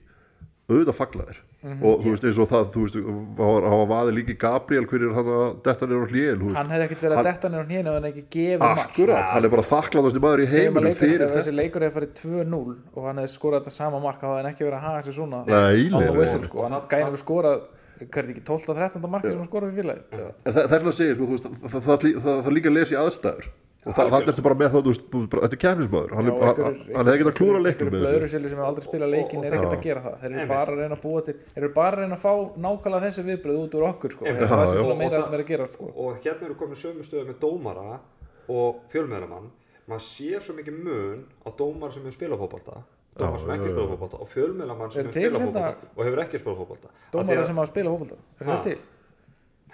B: auðvitað fagla þér
A: Mhm,
B: og þú veist eins og það, þú veist, hafa- hafa vaðið líki Gabriel hverjir hann að detta nýr á hljél þú veist,
A: hann hefði ekkert verið að
B: Hann-
A: detta nefnir hér ef hann ekki gefið mark
B: akkurat, hann er bara þakkláðast í maður
A: Segjum að
B: í heiminum
A: leikurinn-
B: fyrir
A: ef
B: þetta
A: þessi leikur hefði farið 2-0 og hann hefði skorað þetta sama mark þá hefði hann ekki verið að haga sér svona
B: Nei,
A: on
B: nei,
A: the
B: nei.
A: whistle sko, hann
C: Það-
A: gæði hefur skorað hvað er þetta ekki 12-13 marki sem hann skoraði fyrir félagið
B: En það, það er svona að segja, sko, þú veist, það, það, það, það, það líka að lesa í aðstæður og það, það ertu bara með það, þú veist, bara- þetta er kefnismæður hann,
A: Já,
B: er- hann,
A: einhverjir-
B: hann hefði ekki að klúra leiknum
A: einhverjir
B: með þessu
A: blöðruseli sem hefur aldrei spilað
C: Og- og-
A: leikin er ekkert að gera það þeir eru bara að reyna að búa til þeir eru bara að reyna að fá nákvæmlega þessi viðbröð út úr okkur sko.
C: Einmitt.
A: það er
B: Já,
A: svona
C: já.
A: meira
C: Og
A: það sem er að gera sko.
C: og hérna eru komin sömu stöðu með dómara og fjölmiðlamann maður sér svo mikið mun á dómara sem hefur spilað fótbolta dómara sem ekki spilað fótbolta og fjölmiðlamann
A: Er
C: sem hefur
A: til
C: spilað
A: hérna-
C: fótbolta og hefur ekki spilað fótbolta
A: dómarar sem hafa spilað hópulta er
C: Ha.
A: það til?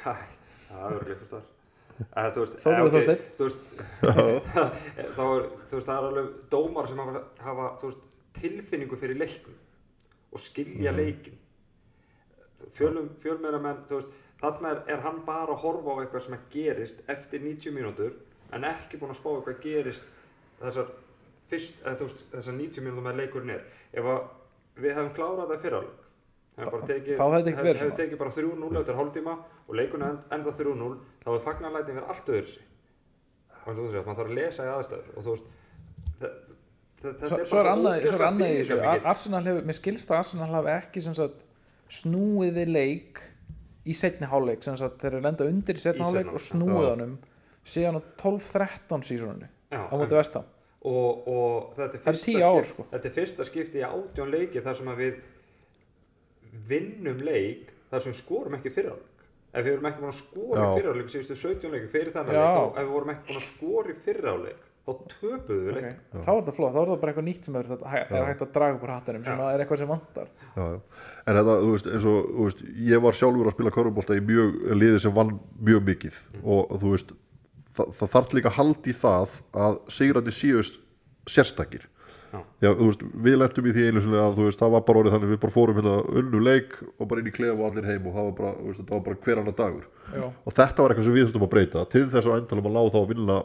C: Hæ, það er líka starf Eða, þú veist, eh,
A: Þórður
C: ok,
A: Þorsteinn.
C: þú veist, þá er, þú veist, það er alveg dómar sem hafa, hafa þú veist, tilfinningu fyrir leiknum og skilja leikin fjölum, fjölmeðlamenn þú veist, þarna er, er hann bara að horfa á eitthvað sem að gerist eftir 90 mínútur en ekki búin að spá eitthvað gerist þessar, fyrst, eða, þú veist, þessar 90 mínútur með leikurinn er ef að við hefum klárað það fyrraleg hefum bara tekið,
A: þá hefði ekkert verið
C: hef- hefði
A: svona.
C: tekið bara 3-0 eftir hálftíma og leikurinn end, enda 3-0 þá hefur fagnarlætin verið allt öðru sig og eins og þú segir, maður þarf að lesa í aðstæður og þú veist það, þetta
A: Svo
C: bara
A: svo er annað svo er
C: ógeðslega
A: annað í þessu Ar-
C: þýðingarmikið.
A: Arsenal hefur, mér skilst að Arsenal hafi ekki sem sagt, snúið við leik í setni hálfleik sem sagt, þeir eru lenda undir
C: Í
A: í
C: seinni
A: setni hálfleik og
C: hálfleik,
A: snúið
B: já.
A: honum síðan á 12-13 sísoninu
C: Já,
A: á móti vestam
C: og, og þetta er
A: Það eru
C: fyrsta,
A: tíu ár,
C: skipti,
A: sko.
C: þetta er fyrsta skipti í átjón leiki þar sem að við vinnum leik þar sem við skorum ekki fyrirháleik ef við vorum ekki búin að skora
B: Já.
C: í fyrirháleik síðustu 17 leiki fyrir þannig
A: Já.
C: leik þá- ef við vorum ekki búin að skora í fyrirháleik þá töpuðu við
A: okay.
C: leik
A: þá er það flott, þá er það bara eitthvað nýtt sem er,
B: Já.
A: er hægt að draga upp úr hattunum sem er eitthvað sem vantar
B: já, já. en þetta, þú veist, eins og þú veist, ég var sjálfur að spila körfubólta í mjög liði sem vann mjög mikið og þú veist, það, það þarf líka hald í það að sigrandi síðust sérstakir
C: Já.
B: Já, þú veist, við lentum í því einu sinni að þú veist, það var bara orðið þannig við bara fórum hérna unnu leik og bara inn í klefa og allir heim og það var bara, þú veist, það var bara hver annar dagur
A: Já.
B: og þetta var eitthvað sem við þurftum að breyta til þess að endalum að ná þá að vinna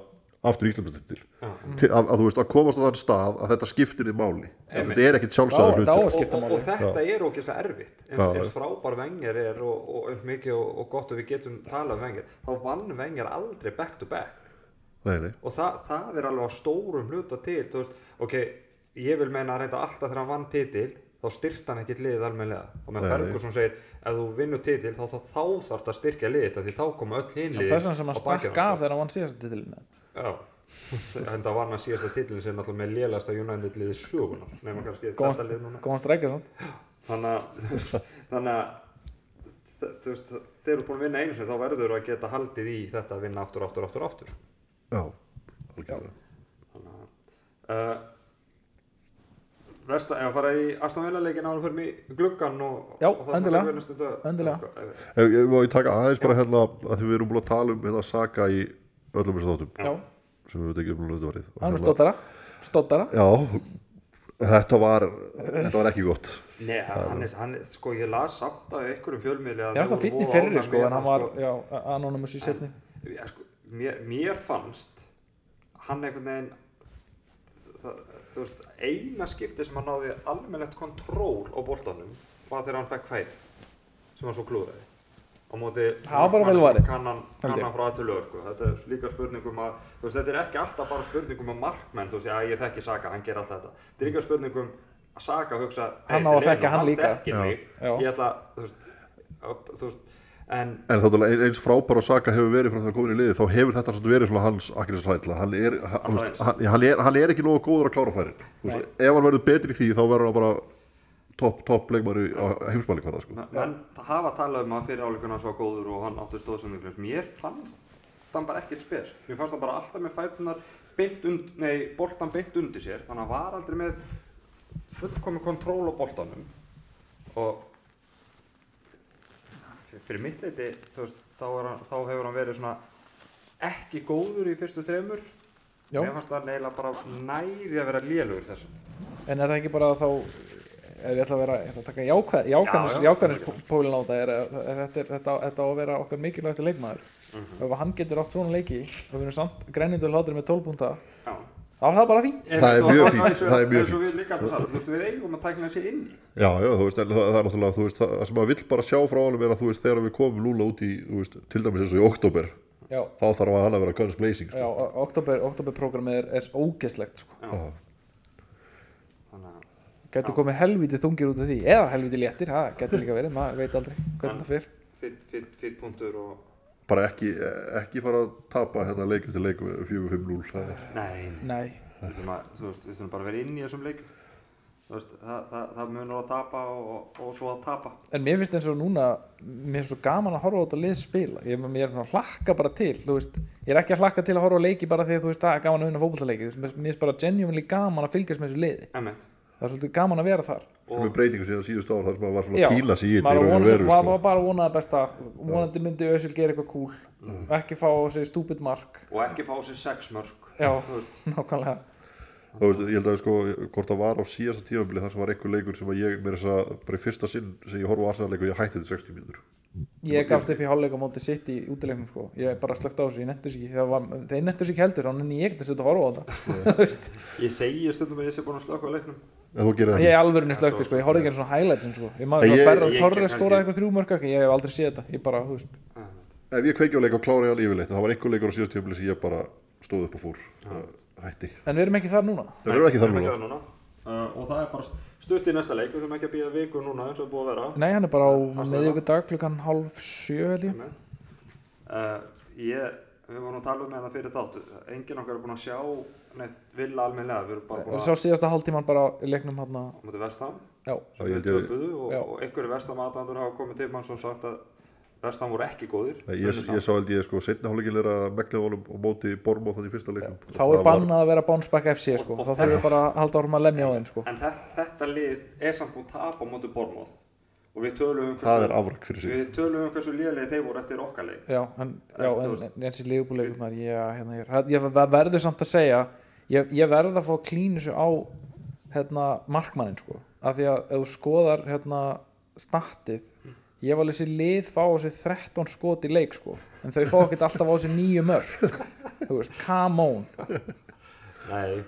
B: aftur íslumstiltil
C: Já.
B: til, að, að þú veist, að komast á þann stað að þetta skiptir þið máli
C: Einmitt.
B: þetta er ekkit
A: Já,
B: sjálfsæður
A: þetta á
B: hlutur
A: að
C: og,
A: skipta
C: og,
A: máli.
C: og þetta er ógeðslega erfitt eins,
B: Já.
C: eins frábær vengjar er og, og eins mikið og, og gott og við getum talað um vengjar þá vann vengjar aldrei back to back
B: nei, nei.
C: og það, það er alveg á stórum hluta til þú veist, ok, ég vil meina reynda alltaf þegar hann vann titil þá styrkt hann ekkit liðið almennilega og með
B: Nei, nei.
C: Ferguson segir, ef þú vinnur titil þá, þá, þá þarf það að styrkja liðið þetta því þá koma öll hinn liðið
A: þess vegna sem að stakka af þegar hann vann síðast titilinu
C: sko." já, en það var hann að síðasta titilin sem náttúrulega með lélasta United liðið sögunar nema kannski þetta lið núna
A: góðan streikja svona
C: þannig að þú veist, þannig að þ- þú veist, þeir eru búin að vinna einu sem þá verður þú að geta haldið í þetta að vinna aftur, aftur, aftur, aftur
B: Já, algjörlega
C: Þannig að uh, Versta, ef að fara í Aston Villa leikin ára fyrir mig gluggan og,
A: Já,
C: og það
A: endilega. Endilega.
C: Sko,
B: Ef ég má ég taka aðeins bara hérna að því við erum búin að tala um hérna Saga í öllum þessu þáttum
A: já,
B: sem við veit ekki um lögduvarið
A: hann er stóttara stóttara,
B: Já, þetta var þetta var ekki gott
C: Nei, hann er, hann er, sko ég las samt að einhverjum fjölmiðli að
A: ég
C: þeir
A: varst
C: voru
A: það fínn í
C: voða
A: fyrri
C: ánægð
A: sko
C: með
A: en hann var, já, anónumus í setni
C: Já, sko, mér, mér fannst hann einhvern veginn það, þú veist, eina skipti sem hann náði almennlegt kontról á boltanum var þegar hann fekk færi sem hann svo klúðaði á móti
A: Það var bara vel varið,
C: kannan,
A: held ég.
C: kannan frá aðtöluður sko. þetta er líka spurningum að þú veist, þetta er ekki alltaf bara spurningum um markmenn þú veist, já ég þekki Saka, hann ger alltaf þetta þetta er líka spurningum að Saka hugsa
A: Hann
C: "Hey,
A: á að
C: Leno,
A: þekkja hann líka."
C: þekkir
B: Já.
C: mig.
A: Já.
C: ég ætla þú veist, að- þú veist, en
B: En þá ein, eins frábæra Saga hefur verið frá það að komin í liði þá hefur þetta samt verið svona hans akkurisrætla hann, er- hann, þú veist, hann, hann, er- hann er ekki nógu góður að klára færin veist, Ef hann verður betri í því þá verður hann bara topp top leikmari á heimsmæli hvað það sko
C: menn hafa talað um að fyrir áleikuna svo góður og hann átti stóðsendinglust mér fannst hann bara ekkert spes mér fannst hann bara alltaf með fætunar beint und, nei, boltan beint undir sér þannig að hann var aldrei með fullkomi kontról á boltanum og fyrir mitt leiti þú veist, þá, er hann, þá hefur hann verið svona ekki góður í fyrstu þremur
A: Já.
C: mér fannst hann eiginlega bara næri að vera lélugur þessum
A: En er það ekki bara þá ef ég ætla að vera, ég ætla að taka jákvæð- jákvæðnis
C: Já, já.
A: jákvæðnispólin á þetta er að að þetta, er- þetta, á- þetta á að vera okkar mikilvægasti leikmaður
C: Mhm.
A: ef hann getur átt svona leiki og við erum samt grennindu hlátur með 12 púnta
C: já
A: þá er það bara fínt
B: Það er mjög fínt, það er mjög
C: fínt
B: fínt.
C: um við líka alltaf sagt, þú veist við eigum að tækna þessi inn í
B: Já, já, þú veist, en það, það er náttúrulega, þú veist, það, það sem maður vill bara sjá frá honum er að, þú veist, þegar við komum lúla út í, þú veist, til dæmis eins og í oktober,
A: Já,
B: þá þarf að hann að vera guns blazing,
A: já
B: sko.
A: oktober, oktoberprogrammið er, er ógeslegt sko.
B: Já.
C: þannig að
A: Gætu
C: Já.
A: komið helviti þungir út af því eða helviti léttir, það gæti líka verið maður veit aldrei
C: En-
A: hvernig það fyrr
C: fýtt- fýtt- fýtt punktur og
B: Bara ekki, ekki fara að tapa hérna leikum til leikum 4-5-0, það er,
C: nei, nei.
A: Nei,
C: Við, þurfum að, þú veist, við þurfum bara að vera inn í þessum leik þú veist, það, það, það munur að tapa og, og svo að tapa
A: en mér finnst eins og núna mér finnst svo gaman að horfa á þetta lið spila ég, mér er svona að hlakka bara til þú veist, ég er ekki að hlakka til að horfa á leiki bara því að þú veist það er gaman að vinna fótballtaleiki mér mér finnst bara genuinely gaman að fylgjast með þessu liði
C: Emmett
A: það er svolítið gaman að vera þar
B: sem er breytingu síðan síðust ára, þar sem maður var svona
A: Já,
B: að píla sig í þetta í
A: maður
B: raun og
A: vonast-
B: veru,
A: maður
B: sko.
A: var bara að vona það besta vonandi myndi Ösil gera eitthvað cool
B: Mm.
A: ekki fá sér stúpid mark
C: og ekki fá sér sex mörg
A: Já.
C: þú veist,
A: nákvæmlega
B: Þú veist, ég held að, sko, hvort það var á síðasta tímabili, þar sem var einhver leikur sem að ég, mér þess að, bara í fyrsta sinn sem ég horfa á Arsenal-leikur, ég hætti þetta 60 mínútur.
A: ég gafst upp í hálfleik á móti sitt í útileiknum sko. ég bara slögt á þessu, ég nettur sér ekki Það var- þeir nettur sér ekki heldur, þannig að ég getið sér að horfa á þetta Þú veist,
C: ég segi stundum að ég sé búin að slöka á leiknum
B: En þú gerir það
A: ég
B: ekki.
A: er alvörinni slögti sko, ég horfði ekki einu svona highlights sko. ég maður
B: Ég-
A: svona ferra og
C: ég-
A: torra
C: ég-
A: stóra
C: ég-
A: eitthvað þrjú mörg ég hef aldrei séð þetta, ég bara, þú veist
C: Emmett.
B: Ef ég kveikja á leik og klára ég hann yfirleitt, það var einhver leikur á síðasta tímabili sem ég bara stóð upp og fór ja. hætti
A: En við erum ekki þar núna
B: það verður ekki
C: Við
B: þar núna
C: erum ekki þar núna. Uh, og það er bara stutt í næsta leik, við þurfum ekki að býða viku núna eins og búið að vera.
A: Nei, hann er bara á
C: Hann sagði
A: meðjögur dag klukkan hálf sjö held ég
C: Nei. Uh, ég, við vorum að tala um þetta fyrir þáttu, enginn okkar er búin að sjá neitt vilja almennilega, við erum bara
A: Við
C: búin
A: sá
C: að
A: síðasta hálftíman bara í leiknum hann
C: á mútið vestam,
A: Já,
B: Já, ég
C: sem
B: held
C: við
B: ég-
C: töpuðu og,
A: Já.
C: og einhverju vestam aðdandur hafa komið til mann sem sagt að vestam voru ekki góðir.
B: Nei, ég,
C: Unnu
B: ég sá held ég sko setna hálfleikin er að megna honum og móti Bormóð þannig í fyrsta leikum
A: þá er bannað að vera bounce back FC sko.
C: Og- og
A: þá þarfum við bara að halda árum að lemja á þeim sko.
C: En þetta, þetta lið er samt búið að tapa á móti Bormóð og við tölum um
B: það er afrak fyrir sig
C: við tölum um hversu liðlega þeir voru eftir okkar leik.
A: Já, en, já,
C: þú
A: en,
C: veist-
A: en þessi leifbúleikur maður, já, hérna, ég, er- ég ver- verður samt að segja, ég, ég verður að fá klínusu á hérna, markmannin, sko, af því að ef þú skoðar hérna, statið, ég var þessi lið fá á sig 13 skot í leik, sko, en þau fá ekkert alltaf á sig nýju mörg, þú veist, come on,
C: Nei,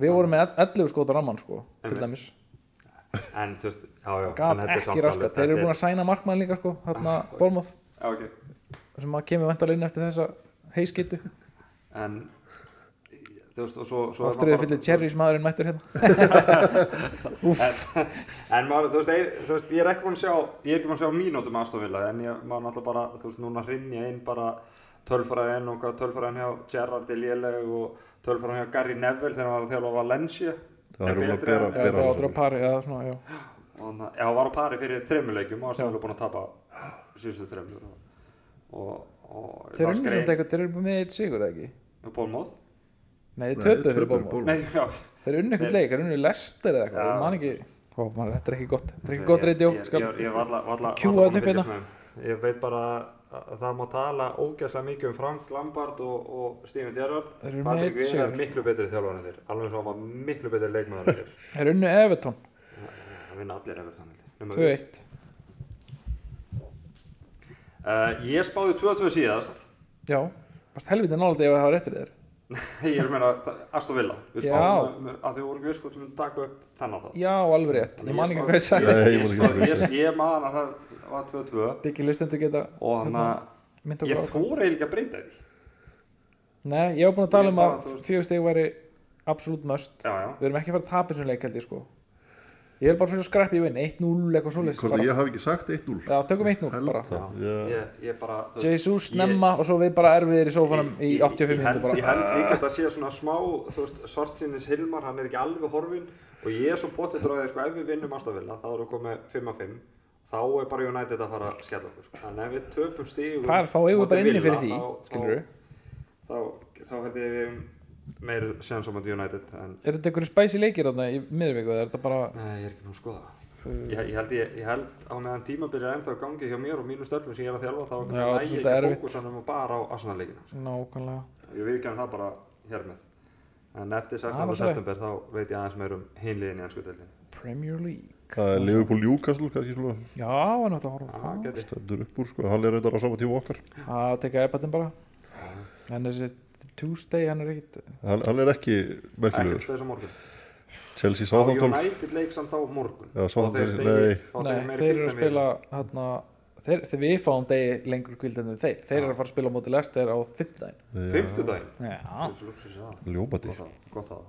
A: við vorum með 11 skot á rammann, sko, til
C: Einmitt.
A: dæmis,
C: en þú veist, já, já.
A: gaf ekki raskat, þeir eru búin að sæna markmannin líka, sko, hérna, Bormoth,
C: Já, ok.
A: sem að kemur vantalegin eftir þessa heiskitu,
C: en þú veist og svo, svo er maður
A: ástriðu
C: bara-
A: fyllir cherry sem aðurinn mættur hérna.
C: en, en maður, þú veist, eir, þú veist, ég er ekki búin að sjá ég er ekki búin að sjá mínútum aðstofila en ég, maður náttúrulega bara, þú veist, núna hrinja inn bara tölfræðin og hvað tölfræðin hjá Gerrard er léleg og tölfræðin hjá Gary Neville þegar hann var að þjálfa Valencia
B: það er
C: betri
B: um að bera,
C: en-
A: Já, þetta var
B: bera
A: aldrei
B: hann
A: á
B: saman.
A: pari, já, svona, já.
C: og hann já, hann var á pari fyrir þreymuleikjum og aðstofila búin að tapa síðustu þreymur og, og, og
A: Þeir eru unni samt eitthvað, þeir eru með eitt sigur, eða ekki?
C: Bólmóð
A: Nei, þeir
B: Nei,
A: töpuðu
B: töpuðu
A: fyrir bóma.
B: Bournemouth.
C: Nei, já,
A: Þeir eru unni eitthvað leik, þeir eru unni lester eða eitthvað,
C: Já.
A: ég man ekki. Ó, maður, þetta er ekki gott, þetta er ekki gott reyndjó,
C: Ég- ég-
A: skal.
C: Ég var alltaf
A: Cue þetta upp hérna.
C: sko. Ég veit bara að það má tala ógæslega mikið um Frank Lampard og, og Steven Gerrard
A: Þeir eru
C: Patrik
A: með einn
C: Veigar er
A: sigur.
C: miklu betri þjálfarnir þér alveg svo hann var miklu betri leikmaður en þér
A: Þeir eru unni Everton,
C: Það vinna allir efur þannig
A: 2-1.
C: uh, Ég spáði 2-2 síðast
A: Já, varst helviti náldi ef það var rétt fyrir þér.
C: Ég er að meina Aston Villa Við
A: Já.
C: spáðum að því vorum við sko til að taka upp þennan þá
A: Já, alveg rétt, ég man ekki hvað ég sagði.
B: Nei, ég
C: Ég,
B: man ekki
C: spáði-
B: hvað ég
C: ég, ég man að það var 2-2
A: Þetta er ekki lustendur geta
C: og þannig
A: hérna,
C: að
A: mynd okkur
C: ég
A: á. hvað.
C: þóra eiginlega að breyta því
A: Nei, ég var búin að tala
C: Ég
A: um
C: bara,
A: að
C: þú veist-
A: fjögur stig væri absolutt möst.
C: Já, já
A: Við erum ekki að fara að tapa þessum leik, held ég, sko. Ég er bara fyrir að skreppi í vinn, 1-0 eitthvað svoleiðis.
B: hvort að
A: bara.
B: ég hafi ekki sagt 1-0
A: Já, tökum 1-0 bara.
B: Held það. Já.
C: ég, ég bara þú veist,
A: Jesus snemma og svo við bara erfiðir í sófanum í
C: ég held-
A: 85 minnum bara
C: ég held líka að það sé svona smá þú veist, svartsýnis Hilmar, hann er ekki alveg horfinn og ég er svo bóttið dráðið sko, ef við vinnum Astafilla, þá erum við komið 5 að 5 þá er bara United að fara að skella okkur sko. en ef við töpum stígum
A: Það er þá eigum við bara inni fyrir því,
C: þá,
A: skilur
C: þá, þá held ég við meir séðan saman United en
A: Er þetta einhverju spæsi leikir þarna í miðurvíku eða er þetta bara eh,
C: nei, ég er ekki búin að skoða það. ég, ég, held, ég, ég held á meðan tímabilið er ennþá í gangi hjá mér og mínu störfum sem ég er að þjálfa þá
A: Já,
C: næ ég
A: þetta
C: ekki
A: er erfitt.
C: fókusanum og bara á Arsenal-leikina sko.
A: nákvæmlega
C: Ég viðkjæm það bara hér með En eftir
A: Það
C: 16.
A: var svoleið.
C: september þá veit ég aðeins meir um hinliðin í ennsku deildin
A: Premier League?
B: það er Liverpool Newcastle kannski svona
A: Já, hann ætla að horfa á
C: Það
A: það
C: geti
B: stendur upp úr sko hann er reyndar á sama tíma og okkar
A: Það tekja ebatinn bara
C: Ah.
A: En þessi Tuesday, hann er ekkit
B: hann, hann er ekki
C: ekkert
B: merkilegur
C: spes á morgun
B: Chelsea
C: Á
B: Southampton
C: United leik samt á morgun
B: Já,
C: Fá þeir
B: Southampton,
C: degi-
B: nei.
C: fá
A: Nei,
C: meiri
A: þeir eru að
C: hvíldarmeiri.
A: spila hérna Þeir, þeir við fáum degi lengur kvild en þeir Þeir eru að fara að spila á móti lestir á 15
C: Fimmtudaginn
A: Já,
C: Þessu lúxus, Ah. já.
B: ljómandi
C: Gott á það, Gott á það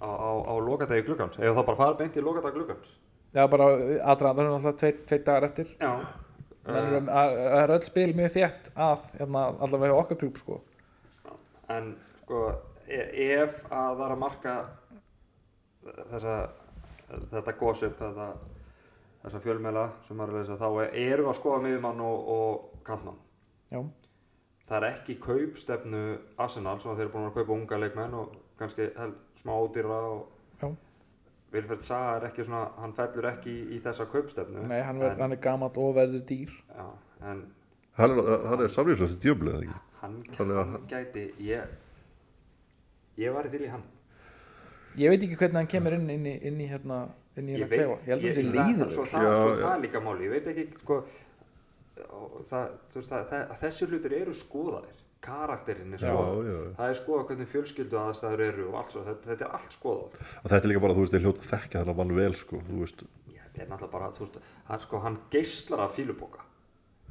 C: Á, á, á lokadegi gluggans Ef það bara fara beint í lokadag gluggans
A: Já, bara aðra, það er alltaf tveit, tveit dagar eftir
C: Já
A: Það
C: Eh,
A: eru- það eru öll spil mjög þétt að hérna, allavega hjá okkar klub sko
C: En sko e- Ef að það er að marka Þessa Þetta gossip Þetta Þessa fjölmela sem maður er að lesa þá erum við að skoða miðjumann og, og kantmann
A: Já,
C: það er ekki kaupstefnu Arsenal sem þeir eru búin að kaupa unga leikmenn og kannski held, smá ódýra og
A: Já.
C: Vilfred Saga er ekki svona hann fellur ekki í, í þessa kaupstefnu
A: nei, hann, ver, hann er gamall og verður dýr
C: en, já, en
B: hann er, hann er samlýslega til djöfli eða ekki
C: hann,
B: Þannig að-
C: hann gæti ég, ég var til í hann
A: Ég veit ekki hvernig hann kemur inn, inn, í, inn í hérna inn í hérna klefa, ég held að hann sé líður
C: svo það,
B: Já,
C: svo
B: já.
C: það er líka máli, ég veit ekki sko, og það, þú veist, það, það, þessi hlutir eru skoðaðir karakterinn er
B: Já,
C: skoðað
B: já, já.
C: það er skoðað hvernig fjölskyldu aðstæður eru og allt svo, þetta, þetta er allt skoðað
B: og þetta er líka bara þú veist ég hljóta að þekka þennan mann vel sko þú veist
C: Já, þetta er náttúrulega bara, þú veist, hann sko, hann geyslar af fíluboka.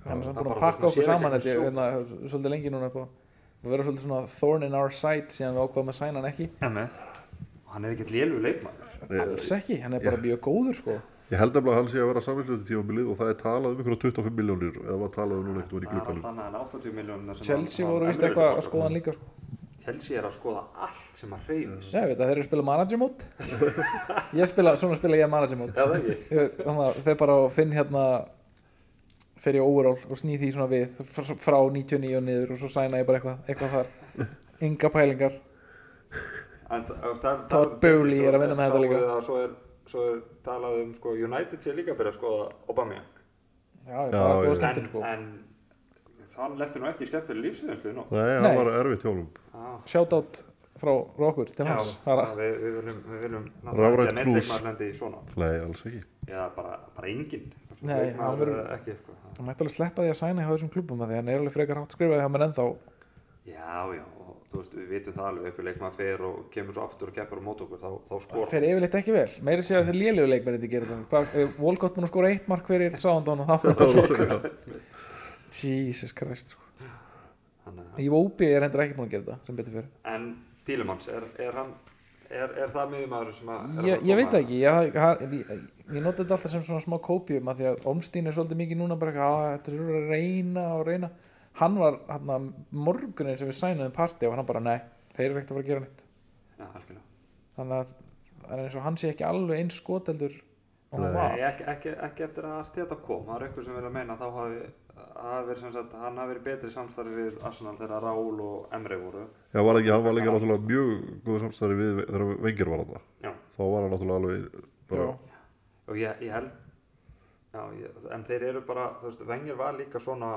A: hann er samt
C: Það
A: búin
C: bara
A: að
C: það sem
A: pakka okkur
C: sér
A: saman
C: ekki
A: þetta,
C: sjó.
A: hérna, svolítið lengi núna upp á og vera svolítið svona thorn in our side síðan við ákvaðum að sæna hann ekki
C: Emmett og hann er ekkert lélugur leikmaður
A: alls ekki, hann er bara mjög góður sko
B: Ég held nefnilega að hann sé að vera samvinsluti tímabilið og það er talað um einhverja 25 miljónir eða var talað um núna ekkert um í
C: það er allt
B: glöpanum.
C: annað en 80 miljónir
A: Chelsea voru vist eitthvað að skoða hann líka sko.
C: Chelsea er að skoða allt sem að reyfist
A: Já, ég veit að þeir eru að spila manager mode ég spila, svona spila ég manager mode
C: Já, það ekki
A: Ég- þannig að þeir bara og finn hérna fer ég overall og snýð því svona við fr- frá 99 og niður og svo sæna ég bara eitthvað, eitthvað þar ynga pælingar
C: En það- það-
A: Todd
C: það-
A: Bowley
C: Chelsea,
A: er að
C: svo-
A: vinna með þetta
C: sáu
A: líka.
C: það, Svo er, svo er talað um sko, United sé líka að byrja að skoða Aubameyang
A: já, ég er
B: Já,
A: bara góð
B: já.
C: en,
A: skemmtun sko
C: en hann lefði nú ekki skemmtileg lífsreynslu nú
B: Nei,
A: Nei.
B: hann var erfitt hjálum.
C: ah,
A: shoutout frá okkur til
C: já,
A: hans
C: já,
A: bara,
C: við, við viljum, við viljum
B: Rafrænt
C: náttúrulega ekki að
B: knús.
C: neitleikmaður lendi í svona
B: Nei, alls ekki.
C: eða bara, bara engin
A: Nei,
C: leikmaður
A: alvöru.
C: ekki sko.
A: hann mætti alveg sleppa því að sæna hjá þessum klubum að því að hann er alveg frekar hátt skrifaði hjá mér ennþá
C: já já og, þú veist við vitum það alveg ykkur leikmaður fer og kemur svo aftur og keppur á mót okkur þá, þá skor
A: fer yfirleitt ekki vel, meiri sé að þeir lélegu leikmenni gera það, Hvað, ef Wolcott mun að skora eitt mark fyrir Sándón og þá Jesus Christ sko.
C: Þannig að-
A: í Óbi er hendur ekki búin að gera það sem betur fyrir
C: en Dílumans er, er hann er, er það miðumæður sem að er að
A: ég,
C: fara
A: ég
C: að
A: veit
C: koma-
A: það ekki ég, ég, ég, ég nota þetta alltaf sem svona smá kópjum að því að Olmstín er svolítið mikið núna bara eitthvað, "Ah, þetta er svo að reyna og reyna hann var hann að morgunin sem við sænaðum partí og hann bara nei, þeir eru ekkert að fara að gera neitt
C: já, algjörlega
A: þannig að það er eins og hann sé ekki alveg eins skoteldur og hann
B: Nei.
A: var
C: Nei, ekki, ekki, ekki eftir að Arteta kom það er einhver sem verið að meina að þá hafi hafi verið sem sagt, hann hafi verið betri samstarfi við Arsenal þegar Raúl og Emre voru
B: Já, var ekki, hann var líka náttúrulega mjög góð samstæri við þegar Wenger var hann.
C: já.
B: Þá var hann náttúrulega alveg bara,
A: Já.
C: og ég, ég held já, ég, en þeir eru bara, þú veist, Wenger var líka svona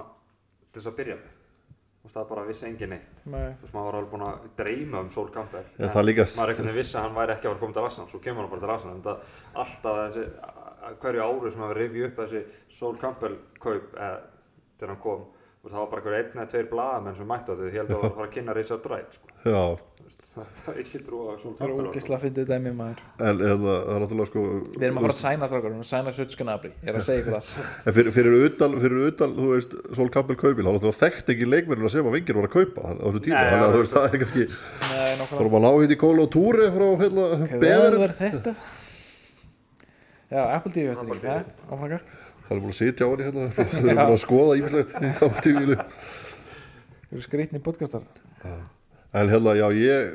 C: til þess að byrja með þú veist, það bara vissi engin neitt
A: Nei.
C: þú veist, maður var alveg búin að dreyma um Sol Campbell
B: Já,
C: en
B: það er líka-
C: maður einhvern veginn vissi að hann væri ekki að vera komið til Arsenal svo kemur hann bara til Arsenal en það, alltaf þessi, að- hverju ári sem maður rifið upp þessi Sol Campbell kaup eh, þegar hann kom þú veist, það var bara einhver einn eða tveir blaðamenn sem mættu á því því heldur að það var að fara að kynna Richard Wright sko.
B: já,
C: Þú veist, það, það er ekki trú að Sol
A: það er
C: Campbell
A: ógislega að fyndið dæmi maður
B: en eða, það er náttúrulega sko...
A: við erum að fara að sæna strákar, við erum að sæna Sötskanabri ég er að segja ykkur það
B: En fyrir, fyrir, utan, fyrir utan, þú veist, Sol Campbell kaupil, hann náttúrulega þekkt ekki leikmennina sem að Wenger var að kaupa hann á þessu tíma,
C: Nei,
B: þannig
C: já,
B: að þú veist, það er kannski,
A: Nei, nákvæmlega.
B: fórum að ná hitt í Kolo Túri frá, hérna,
A: Hver
B: Beverum,
A: var þetta já, Apple TV, veist
C: Apple
A: ekki
C: TV.
A: það, áfram gang
B: hann er búin að sitja á henni hérna, þau eru búin að skoða ímislegt á tíminu.
A: Við erum skrýtni podcastar
B: En hérna, já, ég,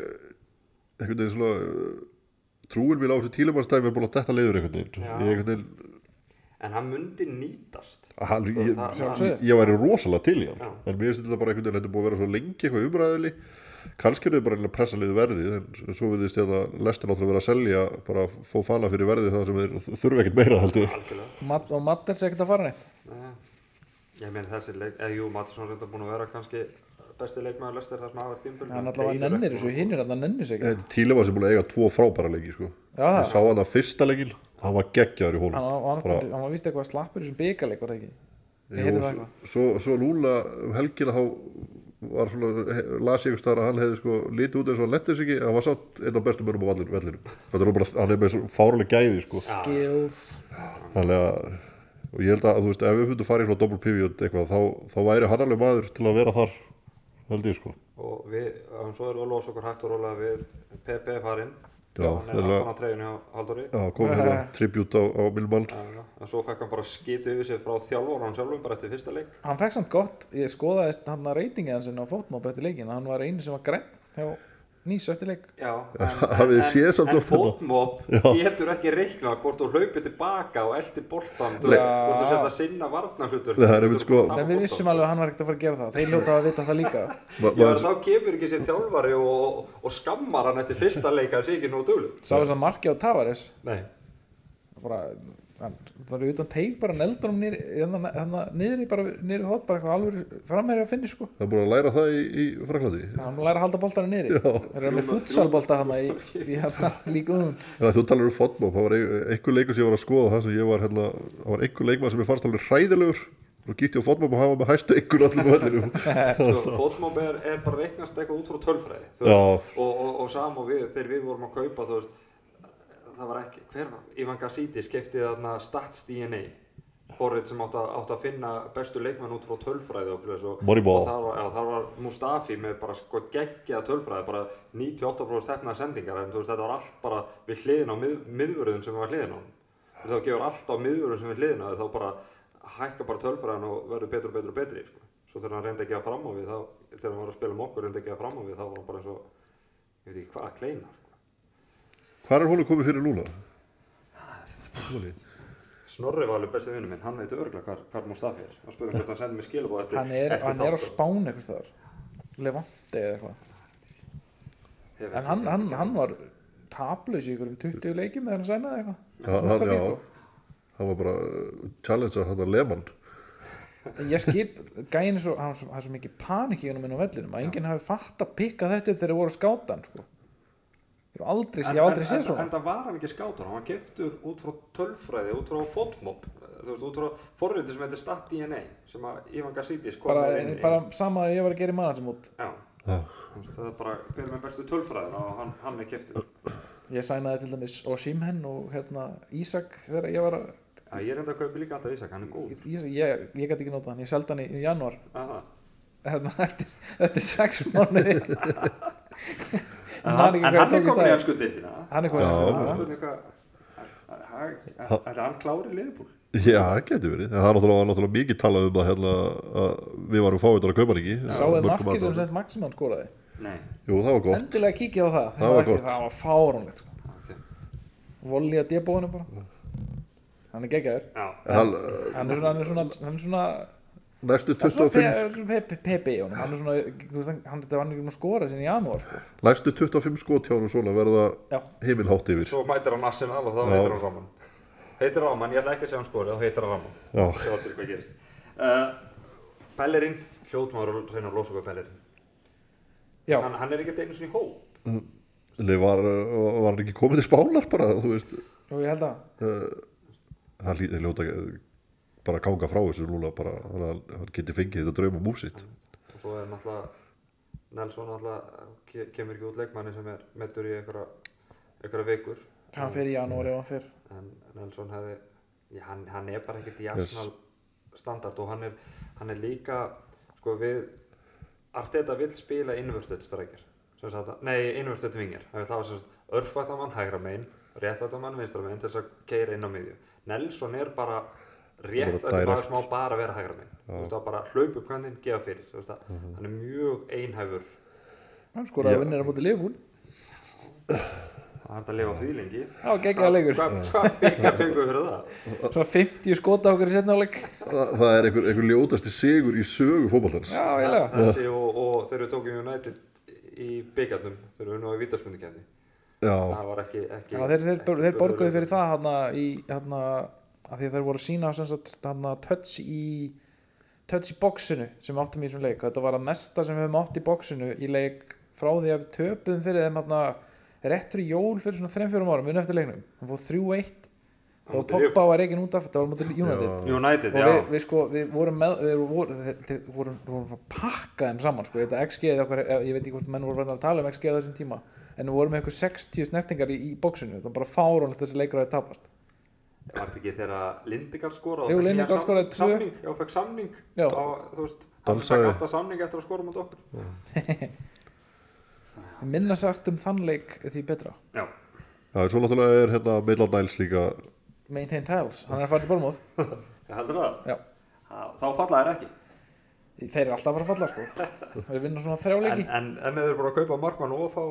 B: einhvern veginn svona, uh, trúin mín á þessu tílemannstæmi er búin að detta leiður einhvern veginn.
C: Já.
B: Ég einhvern veginn,
C: en hann mundi nýtast
B: hann,
C: Þú veist,
B: ég,
C: það-
B: ég, ég væri rosalega til í hann,
C: Já.
B: en mér finnst þetta bara einhvern veginn, þetta er búin að vera svo lengi eitthvað umræðili, kannski eru þau bara einhvern veginn að pressa leiðu verðið, en svo við þist að lestin áttur að vera að selja, bara að fá fana fyrir verðið það sem þeir þurfa ekkert meira, heldur.
C: algjörlega
A: Matt, og Matt er sér ekkert að fara neitt
C: Nei. Ég meina þessi leik, eða jú, Mattisson er reynda búin að vera kannski besti leikmaður lestir það sem hafa verið tímbil
A: hann allavega nennir þessu, hinn er að það nennir sér ekki
B: Tílemann sem búin að eiga tvo frábæra leiki, sko.
A: Já, það.
B: Ég sá hann að fyrsta leikin, hann var geggjaður í hólum.
A: hann, hann,
B: Bara-
A: hann, hann var vist eitthvað að slappur í þessum byggarleik var það ekki ég
B: Jú,
A: heyrði það
B: svo,
A: eitthvað
B: svo, svo núna um helgina þá var svona, he- las ég einhvers staðar að hann hefði sko litið út eins og hann lettis ekki en hann var satt einn af bestu mönnum á vallinu, vellinum þetta er nú bara, hann er með fáruleg gæði sko
A: skills
B: þannig að, og ég held að þú veist ef við myndum fara í svona double pivot eitthvað þá, þá væri hann alveg maður til að vera þar held ég sko
C: Og við, um, svo erum við að losa okkur hægt og rólega við PP farinn
B: Já,
C: Hann er
B: nefnilega.
C: aftan á treyjunni á Halldóri
B: já, kom hérna tribut á, á Milman
C: Já, En svo fekk hann bara skitu yfir sig frá þjálfur hann sjálfum bara eftir fyrsta leik
A: hann fekk samt gott, ég skoðaði hann að reytingi hans inn á fótmóp eftir leikin hann var einu sem var græn hjá nýs eftir leik
C: Já,
B: hafið þið séð samt
C: en
B: oft hérna? þetta?
C: fótmop getur ekki reiknað hvort þú hlaupið tilbaka og eldi boltan þú
A: Nei.
C: veist, hvort þú setja sinna varnarhlutur
B: Nei, það er einmitt sko-
A: en við vissum alveg að hann var ekkert að fara að gera það þeir ljóta að vita það líka
B: Ma,
C: Já, en
B: maður,
C: þá kemur ekki sér þjálfari og, og, og skammar hann eftir fyrsta leika sé ekki nóg duglu
A: sá þess að marki á Tavares
C: Nei
A: bara, hann það var utan teik bara neldunum niður, hérna- hérna niður í bara niður í hot bara eitthvað alveg framherja að finna sko
B: það er búin að læra það í, í Fraklandi
A: hann læra að halda boltanum niðri
B: Já.
A: þeir eru með futsalbolta hann í, í hérna líka um
B: Já, þú talar um fotmop, það var ein- einhver leikur sem ég var að skoða það sem ég var, hérna, það var einhver leikmað sem ég fannst alveg hræðilegur og gitti á fotmop og hafa með hæstu einhver allir með öllinum
C: Fótmóbi er, er bara reiknast eitthvað út frá tölfræði þú veist, og, og, og sam og við, þegar við vorum að kaupa þú veist, það var ekki, hver var Ivan Gassiti skiptið þarna Stats DNA Forrið sem átti að, átti að finna bestu leikmenn út frá tölfræði og, svoleiðis og,
D: Moneyball.
C: og þar, var, já, þar var Mustafi með bara sko geggja tölfræði bara 98% hefnaða sendingar en þú veist þetta var allt bara við hliðin á mið, miðvörðun sem var hliðin á honum. Þú veist þá gefur allt á miðvörðun sem við hliðin á þér, þá bara hækka bara tölfræðin og verður betur og betur og betri sko. svo þegar hann reyndi að gefa fram á við þá, þegar hann var að spila um okkur reyndi að gefa fram á við þá var hann bara eins og ég veit ekki hvað að kleina sko.
B: Hvað er honum komið fyrir núna? Óli.
C: Snorri var alveg besti vinnu minn, hann veit örgulega hvar, hvar Mustafi er. Hann spurði hvort hann sendi mér skilabóð eftir
A: hann er,
C: eftir
A: hann er á
C: þátt.
A: spán eitthvað þar Levante eða eitthvað
C: Ég veit
A: en hann,
C: ekki.
A: hann, hann var taplaus í einhverjum 20 leikjum eða hann sænaði eitthvað
B: Já, hann,
A: Mustafi,
B: já,
A: sko.
B: hann var bara uh, challenge að þetta Lehmann
A: En ég skip gæin er svo, hann er svo, hann er svo mikið panik í honum inn á vellinum að enginn hafi fatt að pikka þetta upp þegar þeir voru að skáta hann sko. ég hef aldrei, ég hef aldrei séð
C: En, en
A: svona
C: það var hann ekki skátur, hann var keftur út frá tölfræði, út frá fotmob, þú veist, út frá forriti sem heitir StatDNA, sem að Ivan Gassidis kom
A: bara,
C: með inn í.
A: bara sama að ég var að gera í mann sem út
C: Já,
B: Já.
C: þú veist, það er bara hver er með bestu tölfræðina og hann, hann er keftur.
A: ég sænaði til dæmis og Simhen og hérna Ísak þegar ég var að
C: Já, ég reynda að kaupa líka alltaf Ísak, hann er góð.
A: Ísak, ég, ég gæti ekki notað hann, ég seldi hann í, í januar
C: Aha.
A: hérna, eftir, eftir sex mánuði
C: En,
A: Man
C: hann,
A: ekki
C: en
A: hvað
C: hann er
A: tók í
C: komin í
A: staðinn.
C: önsku dildina.
A: Hann er kominn í ensku deildina.
C: deildina. Ætli hann klári liðbúl?
B: Já, það getur verið, það er náttúrulega, var náttúrulega mikið talað um það hérna að við varum fáið að kaupa hann ekki
A: sáðu
B: Mörgum
A: markið sem
B: aðdáendum.
A: sent Maximann skoraði
C: Nei.
B: Jú, það var gott
A: endilega kíkja á það,
B: Það var
A: ekki-
B: gott.
A: það var fáránlegt sko.
C: Ah, ok.
A: volja debóinu bara hann er geggjaður
C: Já,
B: hann, uh,
A: hann er svona hann er svona, hann er svona,
B: Næstu
A: hann er svona
B: 25,
A: pe- pe- pe- pepi í honum hann er svona, þú veist, hann- hann þetta var hann ekki búinn að skora sinni í janúar sko.
B: næstu 25 skot hjá hann svona verða
A: já,
B: heimilhátt yfir
C: svo mætir hann Arsenal og þá
B: Já.
C: heitir hann Raman heitir Raman, ég ætla ekki að segja hann skori þá heitir hann Raman,
B: Já,
C: sjá til hvað gerist uh, Bellerin hljótmaður og reyna að losa okkur Bellerin
A: já,
C: hann, hann er ekki einu sinni í hóp
B: Nei, var, uh, var hann ekki komið til spánar bara, þú veist
A: og ég held að
B: Það lítið ljóta ekki- eh, bara að ganga frá þessu núna bara, þannig að hann geti fengið þetta drauma músitt
C: og svo er náttúrulega Nelson náttúrulega ke- kemur ekki út leikmanni sem er mettur í einhverja einhverja vikur
A: hann fer í janúar ef hann fer
C: en Nelson hefði já, hann, hann er bara ekkert í
B: Yes.
C: Arsenal standard og hann er, hann er líka sko við Arteta vill spila innvörtut strækir nei innvörtut vingar hann vill hafa sem sagt örfvættamann hægra megin réttvættamann vinstra megin til þess að keira inn á miðju Nelson er bara
B: Bara
C: réttvættamann
B: direct.
C: sem á bara að vera hægra megin þú veist það bara hlaup upp kantinn, gefa fyrir þú veist það,
B: Mhm.
C: hann er mjög einhæfur
A: hann skoraði
B: Já.
A: vinnir á móti Liverpool
C: það er hægt að lifa á því lengi
A: það var geggjaða leikur
C: hvað hvað byggar fengur fyrir það?
A: svona 50 skota okkur í setna áleik
B: Það, það er einhver, einhver ljótasti sigur í sögu fótballtans
A: já, eiginlega
C: þessi og, og þegar við tókum United í byggarnum þegar við nú að vítaspundikefni
B: Já,
C: það var ekki, ekki
A: Já, þeir,
C: ekki
A: þeir, þeir, þeir borguðu
C: börjulegur.
A: fyrir það hana, í, hana, að því að þeir voru að sína hana, touch í touch í boxinu sem við áttum í þessum leik og þetta var að mesta sem við höfum átt í boxinu í leik frá því að við töpuðum fyrir þeim hana, rétt fyrir jól fyrir svona 3-4 árum unna eftir leiknum, hann fór 3-1
C: Á
A: og
C: móti
A: Pogba var reikin út af þetta var á móti United
B: Já.
C: United,
A: og
C: já
A: við, við sko, við vorum með við vorum, þeir- þeir- vorum, vorum að pakka þeim saman sko, þetta XG-ið okkar, eh, ég veit ekki hvort menn voru verið að tala um XG á þessum tíma en við vorum með eitthvað 60 snertingar í, í bóksinu það var bara fáránlegt þessi leikur að tapast
C: var þetta ekki þegar Lindegard skoraði og
A: Jú,
C: fékk nýjan
A: Lindegaard
C: sam-
A: skoraði tvö.
C: samning, já, fekk samning
A: Já.
C: Þá, þú veist, hann
B: Dansaði.
C: fekk alltaf samning eftir að skora mot okkur
A: minna sagt um þann leik því betra
C: já,
B: já svo náttúrulega er hérna Midland Niles líka
A: Maintain Tiles, hann er að fara til Bormóð
C: ég heldur það
A: Já.
C: Þa- þá falla þær ekki
A: þeir eru alltaf að fara að falla sko þeir vinna svona þrjá
C: en,
A: leiki
C: en, en þeir eru bara að kaupa markmann og að fá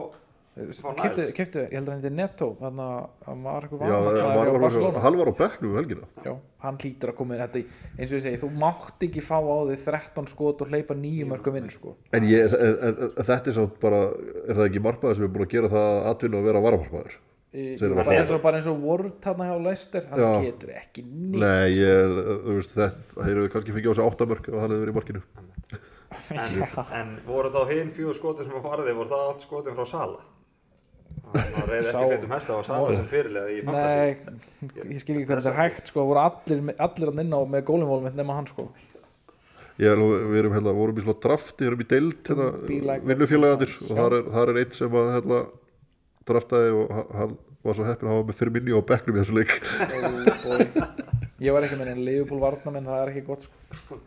C: fá Niles.
A: kiptu, kiptu, ég held að hann heiti Netto þannig að hann var eitthvað
B: Já, hann var,
A: var,
B: var,
A: var,
B: hann var á bekknum um helgina
A: Já, hann hlýtur að koma inn þetta, í- eins og ég segi, þú mátt ekki fá á þig 13 skot og hleypa nýjum mörgum inn sko.
B: En ég, e, e, e, þetta er samt bara, er það ekki markmaður sem er búin að gera það atvinna að vera varamarkmaður?
A: Í-
B: Þeir eru
A: bara,
B: bara-
A: eins og, bara eins og Ward þarna hjá Leicester hann
B: Já.
A: getur ekki nýtt
B: Nei, ég, eh, þú veist, þetta, þeir eru kannski fengið á sig áttamörk og hann hefur verið í markinu.
C: en, en voru þá hinn fjú skotin sem að fara þig voru það allt skotin frá Sala það reyði
A: Sá-
C: ekki feitum hesta á Sala sem fyrirlega í fantasy
A: Nei, ég skil ekki hvernig það er hægt sko, voru allir, allir að nynna með gólumvólum nema hann sko
B: Ég, er nú- við erum hérna, vorum í svona drafti, við erum í deild hérna,
A: Be like
B: vinnufélagandir
A: Niles,
B: og þar er, þar er einn sem að hérna draftaði og ha- hann var svo heppin að hafa með fyrir minni á bekknum í þessu leik.
A: Ó, boy. ég var ekki með enn Leifupól varnamenn, það er ekki gott sko.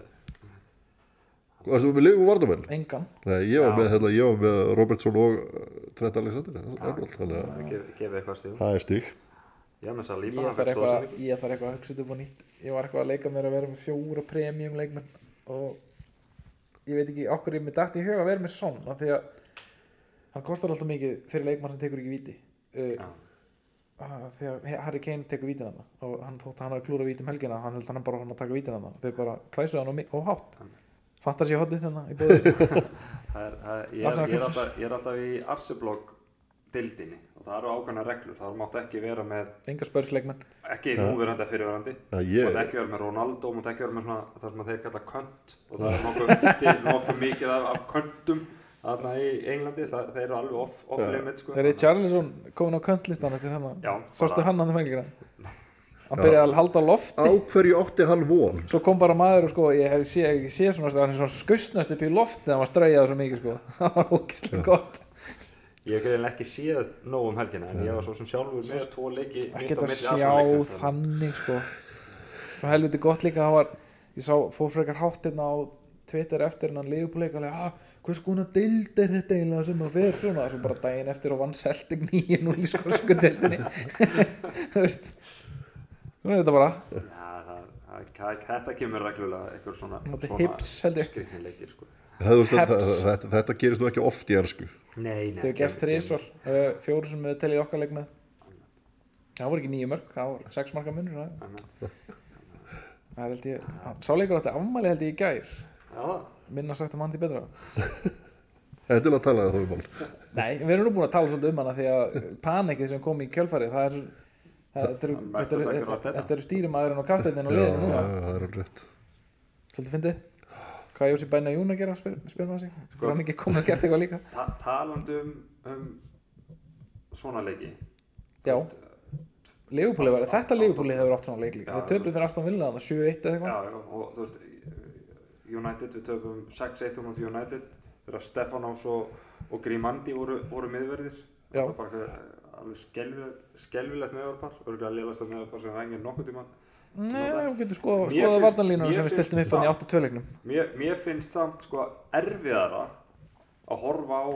B: Varstu með Leifur Vardamenn?
A: engan,
B: Nei, ég var
C: Já.
B: með, hérna, ég var með Robertson og uh, Trent Alexander Arnold, þannig að
C: Gef- gefið eitthvað stíl
B: það er stík
C: ég er með þess að
A: ég
C: líma
A: þarf eitthvað ég þarf eitthvað að hugsa þetta upp á nýtt ég var eitthvað að leika mér að vera með fjóra premium leikmenn og ég veit ekki okkur ég með dætt í huga að vera með son af því að hann kostar alltaf mikið fyrir leikmann sem tekur ekki víti uh, að því að Harry Kane tekur vítin hann og hann þótt að hann er að klúra vítum um helgina hann held að hann bara var að taka vítin hann þeir bara præsuðu hann og, mi- og hátt Fantasí hotið þennan í bóði
C: Það er, það er, ég, er, ég,
A: Arsenal
C: er
A: Clubsins.
C: alltaf, ég er alltaf í Arseblog dildinni og það eru ákveðna reglur, það máttu ekki vera með
A: enga spörsleikmenn
C: ekki núverandi að fyrirverandi
B: Já,
C: yeah.
B: ég,
C: máttu ekki vera með Ronaldo, máttu ekki vera með svona, það sem að þeir kalla könt og það er nokkuð, til nokkuð mikið af, af köntum þarna í Englandi, það, þeir eru alveg off, off limit sko.
A: er Richarlison komin á köntlistan eftir hennan
C: Já,
A: hérna, sástu
C: bara-
A: hann hann þegar helgina hann byrjaði að halda á lofti
B: á hverju átti hann von?
A: Svo kom bara maður og sko, ég hef sé, ég sé svona, hann er svona skusnast upp í loft þegar hann var straujaður svo mikið sko, það var ógislega gott.
C: Ég hef greinlega ekki séð nóg um helgina en ég var svo sem sjálfur með tvo leiki
A: Ekki þetta sjá þannig sko. Svo helviti gott líka, hann var, ég sá, fór frekar háttinn á Twitter eftir en hann liðbúleik, alveg, ah, hvers konar deild er þetta eiginlega sem að fer svona, svo bara daginn eftir og vann Celtic 9-0 í skosku deildinni, þú veist. Nú er þetta bara,
C: Já, það, það, það, þetta kemur reglulega einhver svona,
A: Móti Hibs, held
C: svona
A: ég.
C: skrýtni leikir sko.
B: Það, þú veist,
A: Heps.
B: þetta, þetta, þetta gerist nú ekki oft í ennsku
C: Nei, nei
A: Þau gerst þrísvar, uh, fjóru sem við telja okkar leik með Það voru ekki nýju mörg, það voru sex marka munur það.
C: Já,
A: Það er held ég, hann- sá leikur átti afmæli held ég í gær
C: það
A: Minna sagt að mann til betra
B: Endilega talaði þá um hann
A: Nei, við erum nú búin að tala svolítið um hana því að panikið sem kom í kjölfarið það er það- þetta eru-
C: Það mesta
A: þetta
C: sækur
A: eru-
C: var þetta.
A: þetta eru stýrimaðurinn og kapteinninn og
B: Já,
A: liðinu núna
B: það er alveg rétt
A: Svolítið fyndið Hvað er Jósi Bæna Jún að gera, spyr, spyr maður sig
C: Sko-
A: Svo hann ekki komið að gert eitthvað líka
C: Ta talandi um, um svona leiki
A: Já.
C: Þú veist,
A: Leifupúli var, þetta Leifupúli hefur átt svona leik líka
C: Sko- Já,
A: Þau töpuð fyrir Aston Villa þannig 7-1 eða
C: já,
A: eitthvað
C: já, og þú veist United, við töfum 6-1 á móti um United þegar Stefanovs og, og Grimandi voru, voru miðverðir
A: Já.
C: það var bara eitthvað alveg skelvilegt, skelvilegt meðverðpar örgulega lélast að meðverðpar sem engin nokkuð tíma
A: Nei, þú getur skoða,
C: Mér
A: skoða
C: finnst-
A: varnarlínuna
C: mér
A: sem við
C: finnst
A: stiltum upp hann í
C: samt-
A: 8-2 leiknum
C: mér, mér finnst samt sko erfiðara að horfa á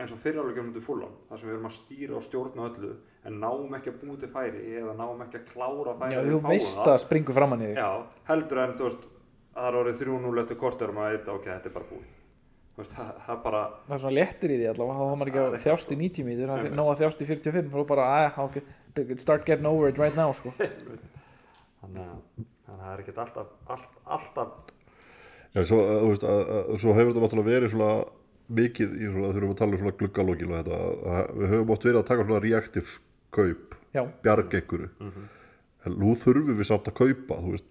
C: eins og fyrirháleikum undir fullan þar sem við erum að stýra og stjórna öllu en náum ekki að búi til færi eða náum ekki að klára færi
A: Já,
C: við
A: þú
C: fáum
A: veist sko.
C: það.
A: að springu framann í þig
C: Já, heldur en þú veist það er orðið 3-0 eftir kortur og maður veit ok, þetta er bara búið þú veist, það, það er bara
A: Það er svona léttir í því allavega, þá þá maður ekki
C: Já,
A: að
C: rétt,
A: þjást í 90 mítur, það
C: Einmitt.
A: er nóg að þjást í 45 þá er bara, aðja, ok, they could start getting over it right now, sko
C: þannig að þannig að það er ekkert alltaf, all, alltaf
B: En svo, að, þú veist, að, að, svo hefur þetta náttúrulega verið svona mikið í svona, þurfum að tala um svona gluggalókin og þetta, að, að við höfum oft verið að taka svona reaktiv kaup,
A: Já,
B: bjarg einhverju en nú þurfum við samt að kaupa þú veist,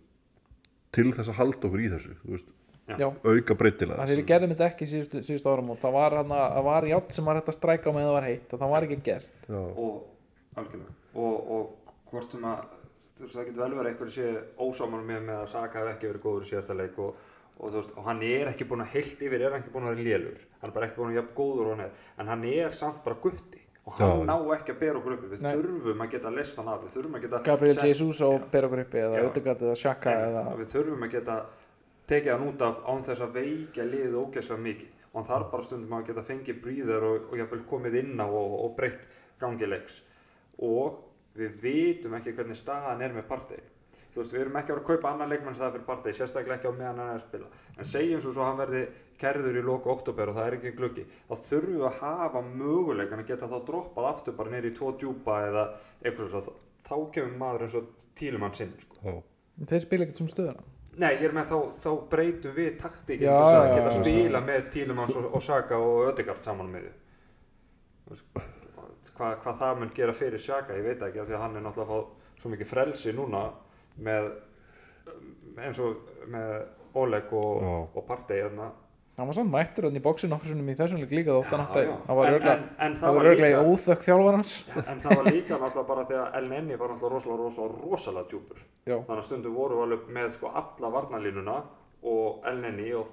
B: til þess að halda okkur í þessu, þú veist,
A: já,
B: auka
A: það
B: breytilega
A: því við gerðum þetta ekki síðustu, síðustu áramót það var, hana, það var játt sem var hægt að stræka á meðan það var heitt, það var ekki gert
B: Já,
C: og algjörlega og, og hvort sem að þú veist, það getur vel verið að einhverju sé ósáman með með að Saka hef ekki verið góður í síðasta leik og, og þú veist, og hann er ekki búin að heilt yfir, er hann ekki búin að vera lélur hann er bara ekki búin að jafn góður og hann er en hann er samt bara gutti og hann
B: Já.
C: ná ekki að bera okkur uppi við
A: Nei.
C: þurfum að geta lest hann af, við þurfum að geta
A: Gabriel
C: sett-
A: Jesus og Bera Grippi eða
C: Já.
A: Ödegard eða Shaka
C: Einmitt,
A: eða
C: að við þurfum að geta tekið hann út af án þess að veikja liðið ógæslega mikið og hann þarf bara stundum að geta fengið bríðar og, og jafnvel komið inn á og, og breytt gangilegs og við vitum ekki hvernig staðan er með partei þú veist, við erum ekki að vera að kaupa annan leikmann staðar fyrir partei, sérstaklega ekki á meðan hann er að spila en segjum svo svo að hann verði kærður í loku oktober og það er ekki gluggi þá þurfum við að hafa möguleikan að geta þá droppað aftur bara neyri í tvo djúpa eða eitthvað svo, þá kemur maður eins og tílumann sinn sko.
B: já,
A: þeir spila ekkert sem stöðuna
C: Nei, ég er með þá, þá breytum við taktíkinn
A: Já,
C: til þess að
A: já,
C: geta
A: já,
C: spila með Tílemanns og, og Saka og Ödegard saman með þau. Þú veist, Hvað, hvað það mun gera fyrir Saka, ég veit ekki, af því að hann er náttúrulega að fá svo mikið frelsi núna með, eins og með Oleg og,
B: Já.
C: og Partey hérna.
A: hann var samt mættur hann í bóksin okkur sinnum í þessum leik líka þótt hann
C: Já,
A: átti
C: já.
A: hann var
C: En-
A: örglega,
C: en- en það
A: það var
C: var
A: örglega í
C: líka-
A: óþökk þjálfarans
C: En það var líka náttúrulega bara þegar El Nenni var náttúrulega rosalega, rosalega, rosalega djúpur.
A: já,
C: þannig að stundum voru alveg með sko alla varnalínuna og elneni og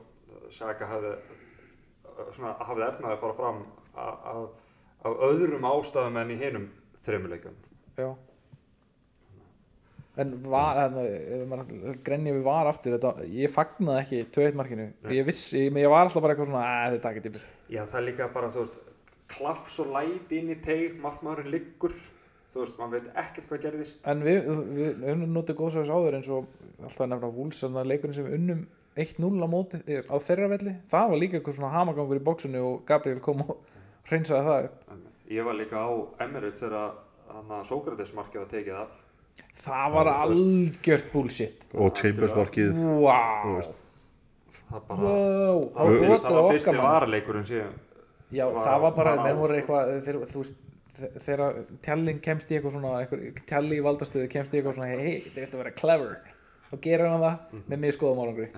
C: Saka hafði svona hafði efnaði að fara fram a- af af öðrum ástæðum enn í hinum þreymuleikum
A: já en var, en, eh, ef maður grenja við var aftur þetta, ég fagnaði ekki 2-1 markinu ég vissi, ég, ég var alltaf bara eitthvað svona að þetta er ekki dýmið
C: Já, það er líka bara, þú veist, klaffs og læti inn í teig, markmaðurinn liggur, þú veist, maður veit ekkert hvað gerðist.
A: en við, við, við notum góðsvæðis áður eins og alltaf nefna Wolves en það leikurinn sem við unnum 1-0 á móti eh, á þeirra velli, það var líka eitthvað svona hamagangur í bóksunni og Gabriel kom og hreinsaði það upp
C: Einmitt. Ég var líka á Emirates þegar hann að Sókrates markið var tekið af.
A: það var
B: Það var
A: algjört bullshit
B: og Chambers markið
A: wow
B: veist.
C: Það bara,
A: wow,
C: það
A: það
C: var,
A: var
C: fyrst, það
A: brotið á
C: var
A: okkar
C: fyrsti
A: mann
C: varleikurinn síðan.
A: Já,
C: Var-
A: það var bara,
C: var
A: menn voru
C: aðeins.
A: eitthvað þeir, þú veist, þe- þegar tjallinn kemst í eitthvað svona, eitthvað, tjalli í valdastöðu kemst í eitthvað svona, hei, þetta ætti að vera clever þá gerir hann það
C: Mhm.
A: með mjög skoðum álangri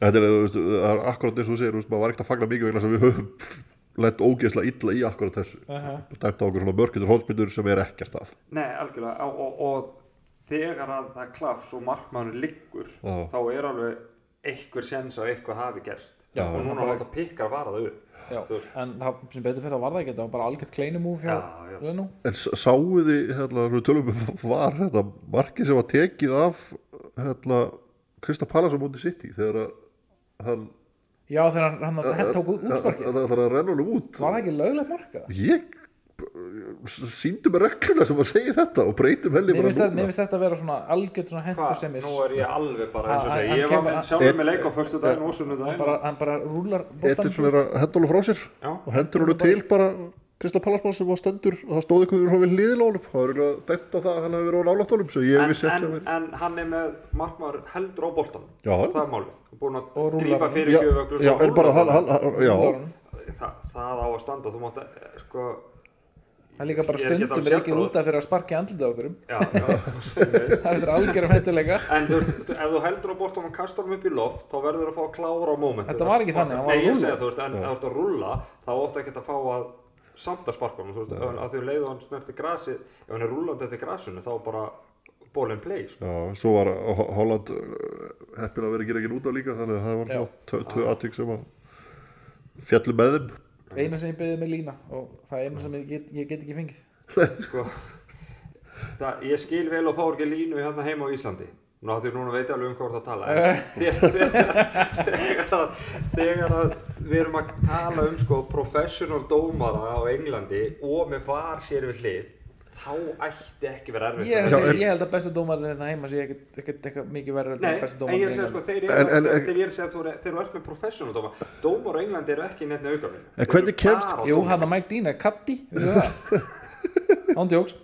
B: Þetta er, þú veist, það er akkurat eins og þú segir, þú veist, maður var ekkert að fagna mikið vegna þess að við höfum lett ógeðslega illa í akkurat þessu.
A: Aha.
B: Dæmt á okkur svona mörgjöndar hónsmyndur sem er ekkert að.
C: Nei, algjörlega, og, og, og þegar að það klaffs og markmaðurinn liggur,
B: Já.
C: þá er alveg einhver sens á eitthvað hafi gerst.
A: Já,
C: og núna
A: bara-
C: var þetta pikkar varað upp.
A: Já,
C: Þú veist.
A: en það, sem betur fyrir það var það ekki, það var bara algjört kleinumúf hjá
C: Já, já.
A: Lenú
B: En s- sáuð þið, hérna, svona tölum við var þetta markið sem var tekið af, hérna, Krista Pallas á móti City þegar að hann,
A: Já, þegar hann, hann, hann tók út útvarkið
B: það er að renna honum út.
A: Var það ekki löglegt marka?
B: Ég síndum með regluna sem að segja þetta og breytum helli
A: Mér
B: bara
A: finnst þetta- mér
B: núna.
A: finnst þetta að vera svona algjört svona hendur
C: Hvað,
A: sem er
C: nú er ég alveg bara eins og
A: Hann-
C: segja,
A: hann
C: ég var
A: kemur-
C: með sjálfur með leik á förstu daginn og sunnudaginn.
A: bara, hann bara rúlar
B: Edilson er að henda honum frá sér.
C: Já,
B: og hendur honum til bara Krista Pallasmann sem var stendur og það stóði eitthvað við hliðin á honum það er eiginlega dæmt á það að hann hefur verið á nálátt honum sem ég
C: en,
B: vissi ekki
C: en,
B: að vera
C: en hann er með markmaður heldur á boltan
B: Já.
C: það er málið, búin
A: Og
C: að
A: rúllar
C: grípa
A: hann.
C: fyrir
B: já,
C: gjöfu öglu
B: já, en bara hann, hann, hann já,
C: það, það á að standa, þú mátt að, eh, sko
A: Það er líka bara
C: Ég er ekki um
A: stundum
C: alveg
A: reykið
C: sérfróður.
A: út af fyrir að sparki andlita okkurum
C: já, já, þú segir.
A: Það er þetta algjörum henduleika
C: en þú veist, þú- ef þú heldur á boltan og kastar hann upp í loft, þá verður að fá að klára á moment
A: Þetta var ekki þannig, hann var að
C: Nei, ég
A: rúlla.
C: segja, þú veist, en ef þú ert að rúlla þá óttu ekki að fá að samt að sparka hann, þú veist, að því um leið og hann snerti grasi, ef hann er rúllandi eftir grasinu þá bara ball in play, sko
B: já, svo var Ho- Holland uh, heppin að vera ekki reygin út af líka þannig að það var
A: Já.
B: svona tvö- tvö aðtík sem að fjallu með þeim
A: eina sem ég beðið með lína og það er eina sem ég get, ég get ekki fengið
C: sko, það, ég skil vel og fá ekki línu hérna heima á Íslandi Ná, því núna veit ég alveg um hvað þú ert að tala en þegar, þegar, að, þegar að við erum að tala um sko, professional dómara á Englandi og með var sér við hlið þá ætti ekki vera erfitt
A: ég,
C: að-
B: Já,
A: held-
B: en-
A: ég held að bestu dómarinn þetta heima sé ekkert ekkert eitthvað mikið verður
C: Nei,
A: en bestu
C: en ég er að segja sko,
A: dómarinn
C: þeir
B: En-
C: eru
B: en-
C: að, þeir eru að segja að þú, eru- þeir eru öll með professional dómar Dómar á Englandi eru ekki nefnir auðgafinu
B: En hvernig kemst-
A: Jú, hann að Mike Dean er katti ándjóks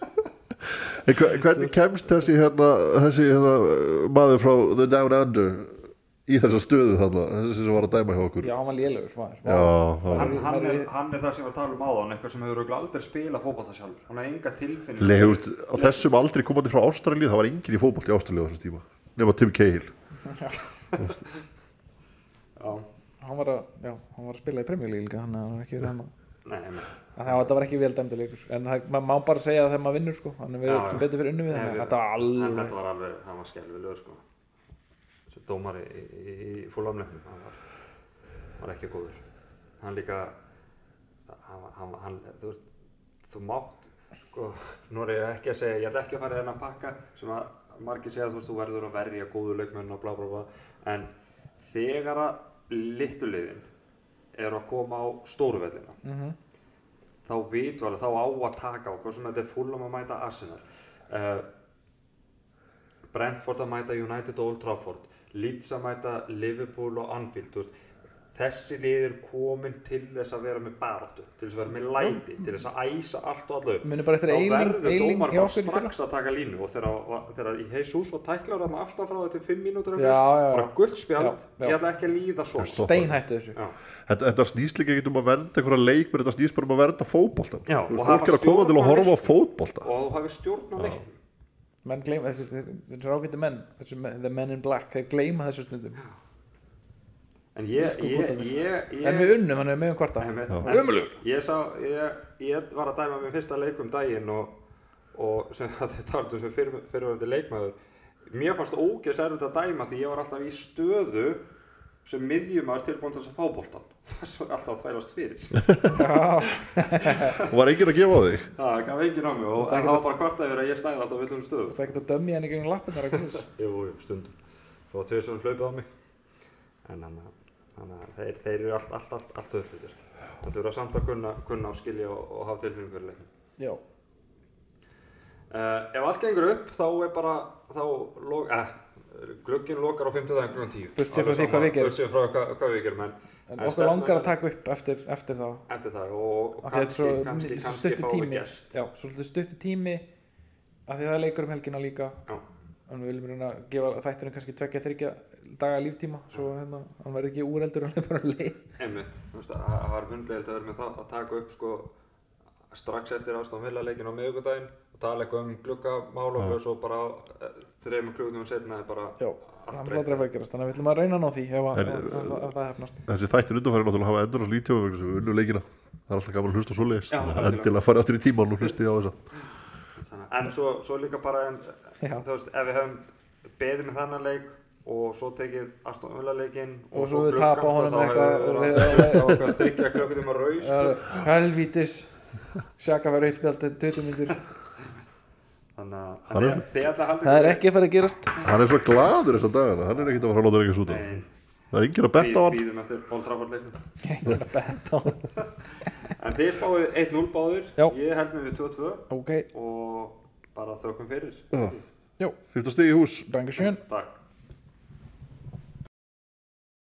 B: En hve- hvernig kemst þessi hérna, þessi hérna uh, maður frá The Down Under í þessa stöðu þarna, þessi sem var að dæma hjá okkur
A: já, hann var lélugur maður.
B: já það
C: hann,
B: var
C: hann, er,
A: Maður-
C: hann er það sem ég var að tala um áðan eitthvað sem hefur örugglega aldrei spilað fótballta sjálfur hann hefur enga tilfinning
B: Leifust, á þessum aldrei komandi frá Ástralíu það var engin í fótbolt í Ástralíu á þessum tíma nema Tim Cahill
C: Já,
A: hann var, að, já, hann var að spila í premjölík líka þannig að hann er ekki verið hann að
C: nei, einmitt.
A: Það var, þetta var ekki vel dæmdur leikur en það, maður má bara segja það þegar maður vinnur sko þannig við
C: Já,
A: erum
C: já.
A: betur fyrir unnu við
C: Nei,
A: þannig
C: við-
A: þetta var
C: en
A: alveg
C: þetta var alveg, það var skelvilegur sko þessi dómari í, í, í fúlamlefnum hann var, var ekki góður hann líka hann, var- hann, var- hann, þú, veist, þú mátt sko, nú er ég ekki að segja ég ætla ekki að fara í þennan pakka sem að margir segja þú veist, þú verður að verja góðu leikmenn og blá blá blá en þegar að litluliðin eru að koma á stóruvellina
A: Mhm.
C: þá vitum við alveg, þá á að taka á hvað sem þetta er fullum að mæta Arsenal uh, Brentford að mæta United og Old Trafford Leeds að mæta Liverpool og Anfield þú veist, þessi liðir komin til þess að vera með baráttu til þess að vera með læti, til þess að æsa allt og allu upp.
A: Munið bara eftir
C: Þá
A: Eiling-
C: verður
A: Eiling
C: dómar
A: hjá
C: bara
A: okkur í fyrra.
C: strax að taka línu og þegar, þegar í Jesus var tæklar að maður aftan frá þetta fimm mínútur
A: Já, já, já.
C: bara guldspjald,
A: Já, já.
C: ég ætla ekki að líða svo
B: Stopp.
A: steinhættu þessu
C: já.
B: þetta, þetta snýst líka ekkert um að vernda einhverja leikmenn, þetta snýst bara um að vernda fótboltan
C: Já,
B: Þú veist,
C: og
B: fólk
C: hafa
B: er að koma til að
C: stjórn á
B: horfa á
C: leiknum.
B: fótbolta
C: og þú hafi stjórn á leiknum
A: menn gleyma þessu, þessu ágættu menn þessu, men- the men in black, þeir gleyma þessu stundum
C: en ég,
A: Elsku
C: ég,
A: fótboltamenn.
C: ég, ég
A: sko en við unnum, hann er meðum kvarta
C: Ömulugur ég, sá- ég, ég var að dæma minn fyrsta leik um daginn og, og sem að þau talaðu sem fyrir, fyrirverandi leikmaður mér fannst ógeðs erfitt að dæma því ég var alltaf í stöðu sem miðjum er tilbúin til þess að fá boltan það er svo alltaf að þvælast fyrir
A: Já,
B: og var enginn að gefa á þig
C: það gaf enginn á mig og
A: Þú veist
C: en
A: ekki
C: það var bara kvartað yfir að ég stæði alltaf á villum stöðum
A: það er ekkert að dömja henni gegn lappinnar að kvís.
C: Jú, jú, stundum. Svo tveir sem um hlaupið á mig. En hann að þeir, þeir eru allt, allt, allt, allt öðruður. Það þurfa samt að kunna, kunna og skilja og, og hafa tilfinningu fyrir leiknum.
A: Já.
C: Uh, ef allt gengur upp, þá er bara, þá, lo, eh, glugginn lokar á 50 daginn klukkan 10.
A: Burt séð frá því hvað við gerum.
C: Burt séð frá hvað, hvað við gerum, en,
A: En
C: en
A: okkur
C: stefnan
A: langar
C: er-
A: að taka upp eftir, eftir þá.
C: eftir það og, og
A: Af því þetta er
C: kannski,
A: svo,
C: kannski,
A: þetta er svo
C: kannski
A: stuttur
C: fáum við
A: tími.
C: gest.
A: Já, svolítið stuttur tími. Af því það er leikur um helgina líka.
C: Já.
A: En við viljum reyna að gefa þættinu kannski tvekja þryggja daga líftíma. Svo hérna, hann verði ekki úreldur, hann er bara um leið.
C: Einmitt, þú veist, það það var hundlegilegt að vera með það að taka upp sko strax eftir ástofan vilja leikin á miðugudaginn og tala eitthvað um gluggamál og svo bara eh, þremur klukkutíma setna er bara
A: Já,
C: allt
A: hann
C: breytt.
A: hláttur að fara að gerast. Þannig að við viljum að reyna að ná því ef að-
B: En-
A: ef að- ef það hefnast.
B: þessi þættir undanfæri náttúrulega hafa endur á slítjóma vegna sem við unnum leikina það er alltaf gaman að hlusta á svoleiðis
C: Já, algjörlega.
B: endilega farið aftur í tíman og hlustið á þessa
C: Þannig, að- en svo, svo líka bara en,
A: Já.
C: þú veist, ef við hefum beðið með þannan leik og svo tekið ástofan vilja leikinn
A: Og svo við tapa
C: gluggann,
A: honum
C: sko, þá
A: eitthvað
C: hefur
A: og
C: við
A: við-
C: verið að hlusta á okkar þryggja klukkutíma raus sko.
A: Það er Helvítis. Sjaka verður eitt spjald 20 myndir.
C: þannig
B: Hann
C: að
B: er-
C: en þið ætla að halda
A: Það er
C: ykkur-
A: ekki að fara að gerast.
B: hann er svo gladur þessa dagana hann er ekkert að fara að láta reyngjast út af
C: Nei,
B: það er enginn að betta á
C: bí-
B: hann
C: bíðum eftir Old Trafford leiknum
A: Engin að betta á hann.
C: En þið spáðið 1-0 báðir,
A: Já.
C: ég held með við 2-2
A: Ok,
C: og bara þökkum fyrir.
B: Já.
A: já,
B: 15 Ah. stig í hús
A: danke schön.
C: Takk.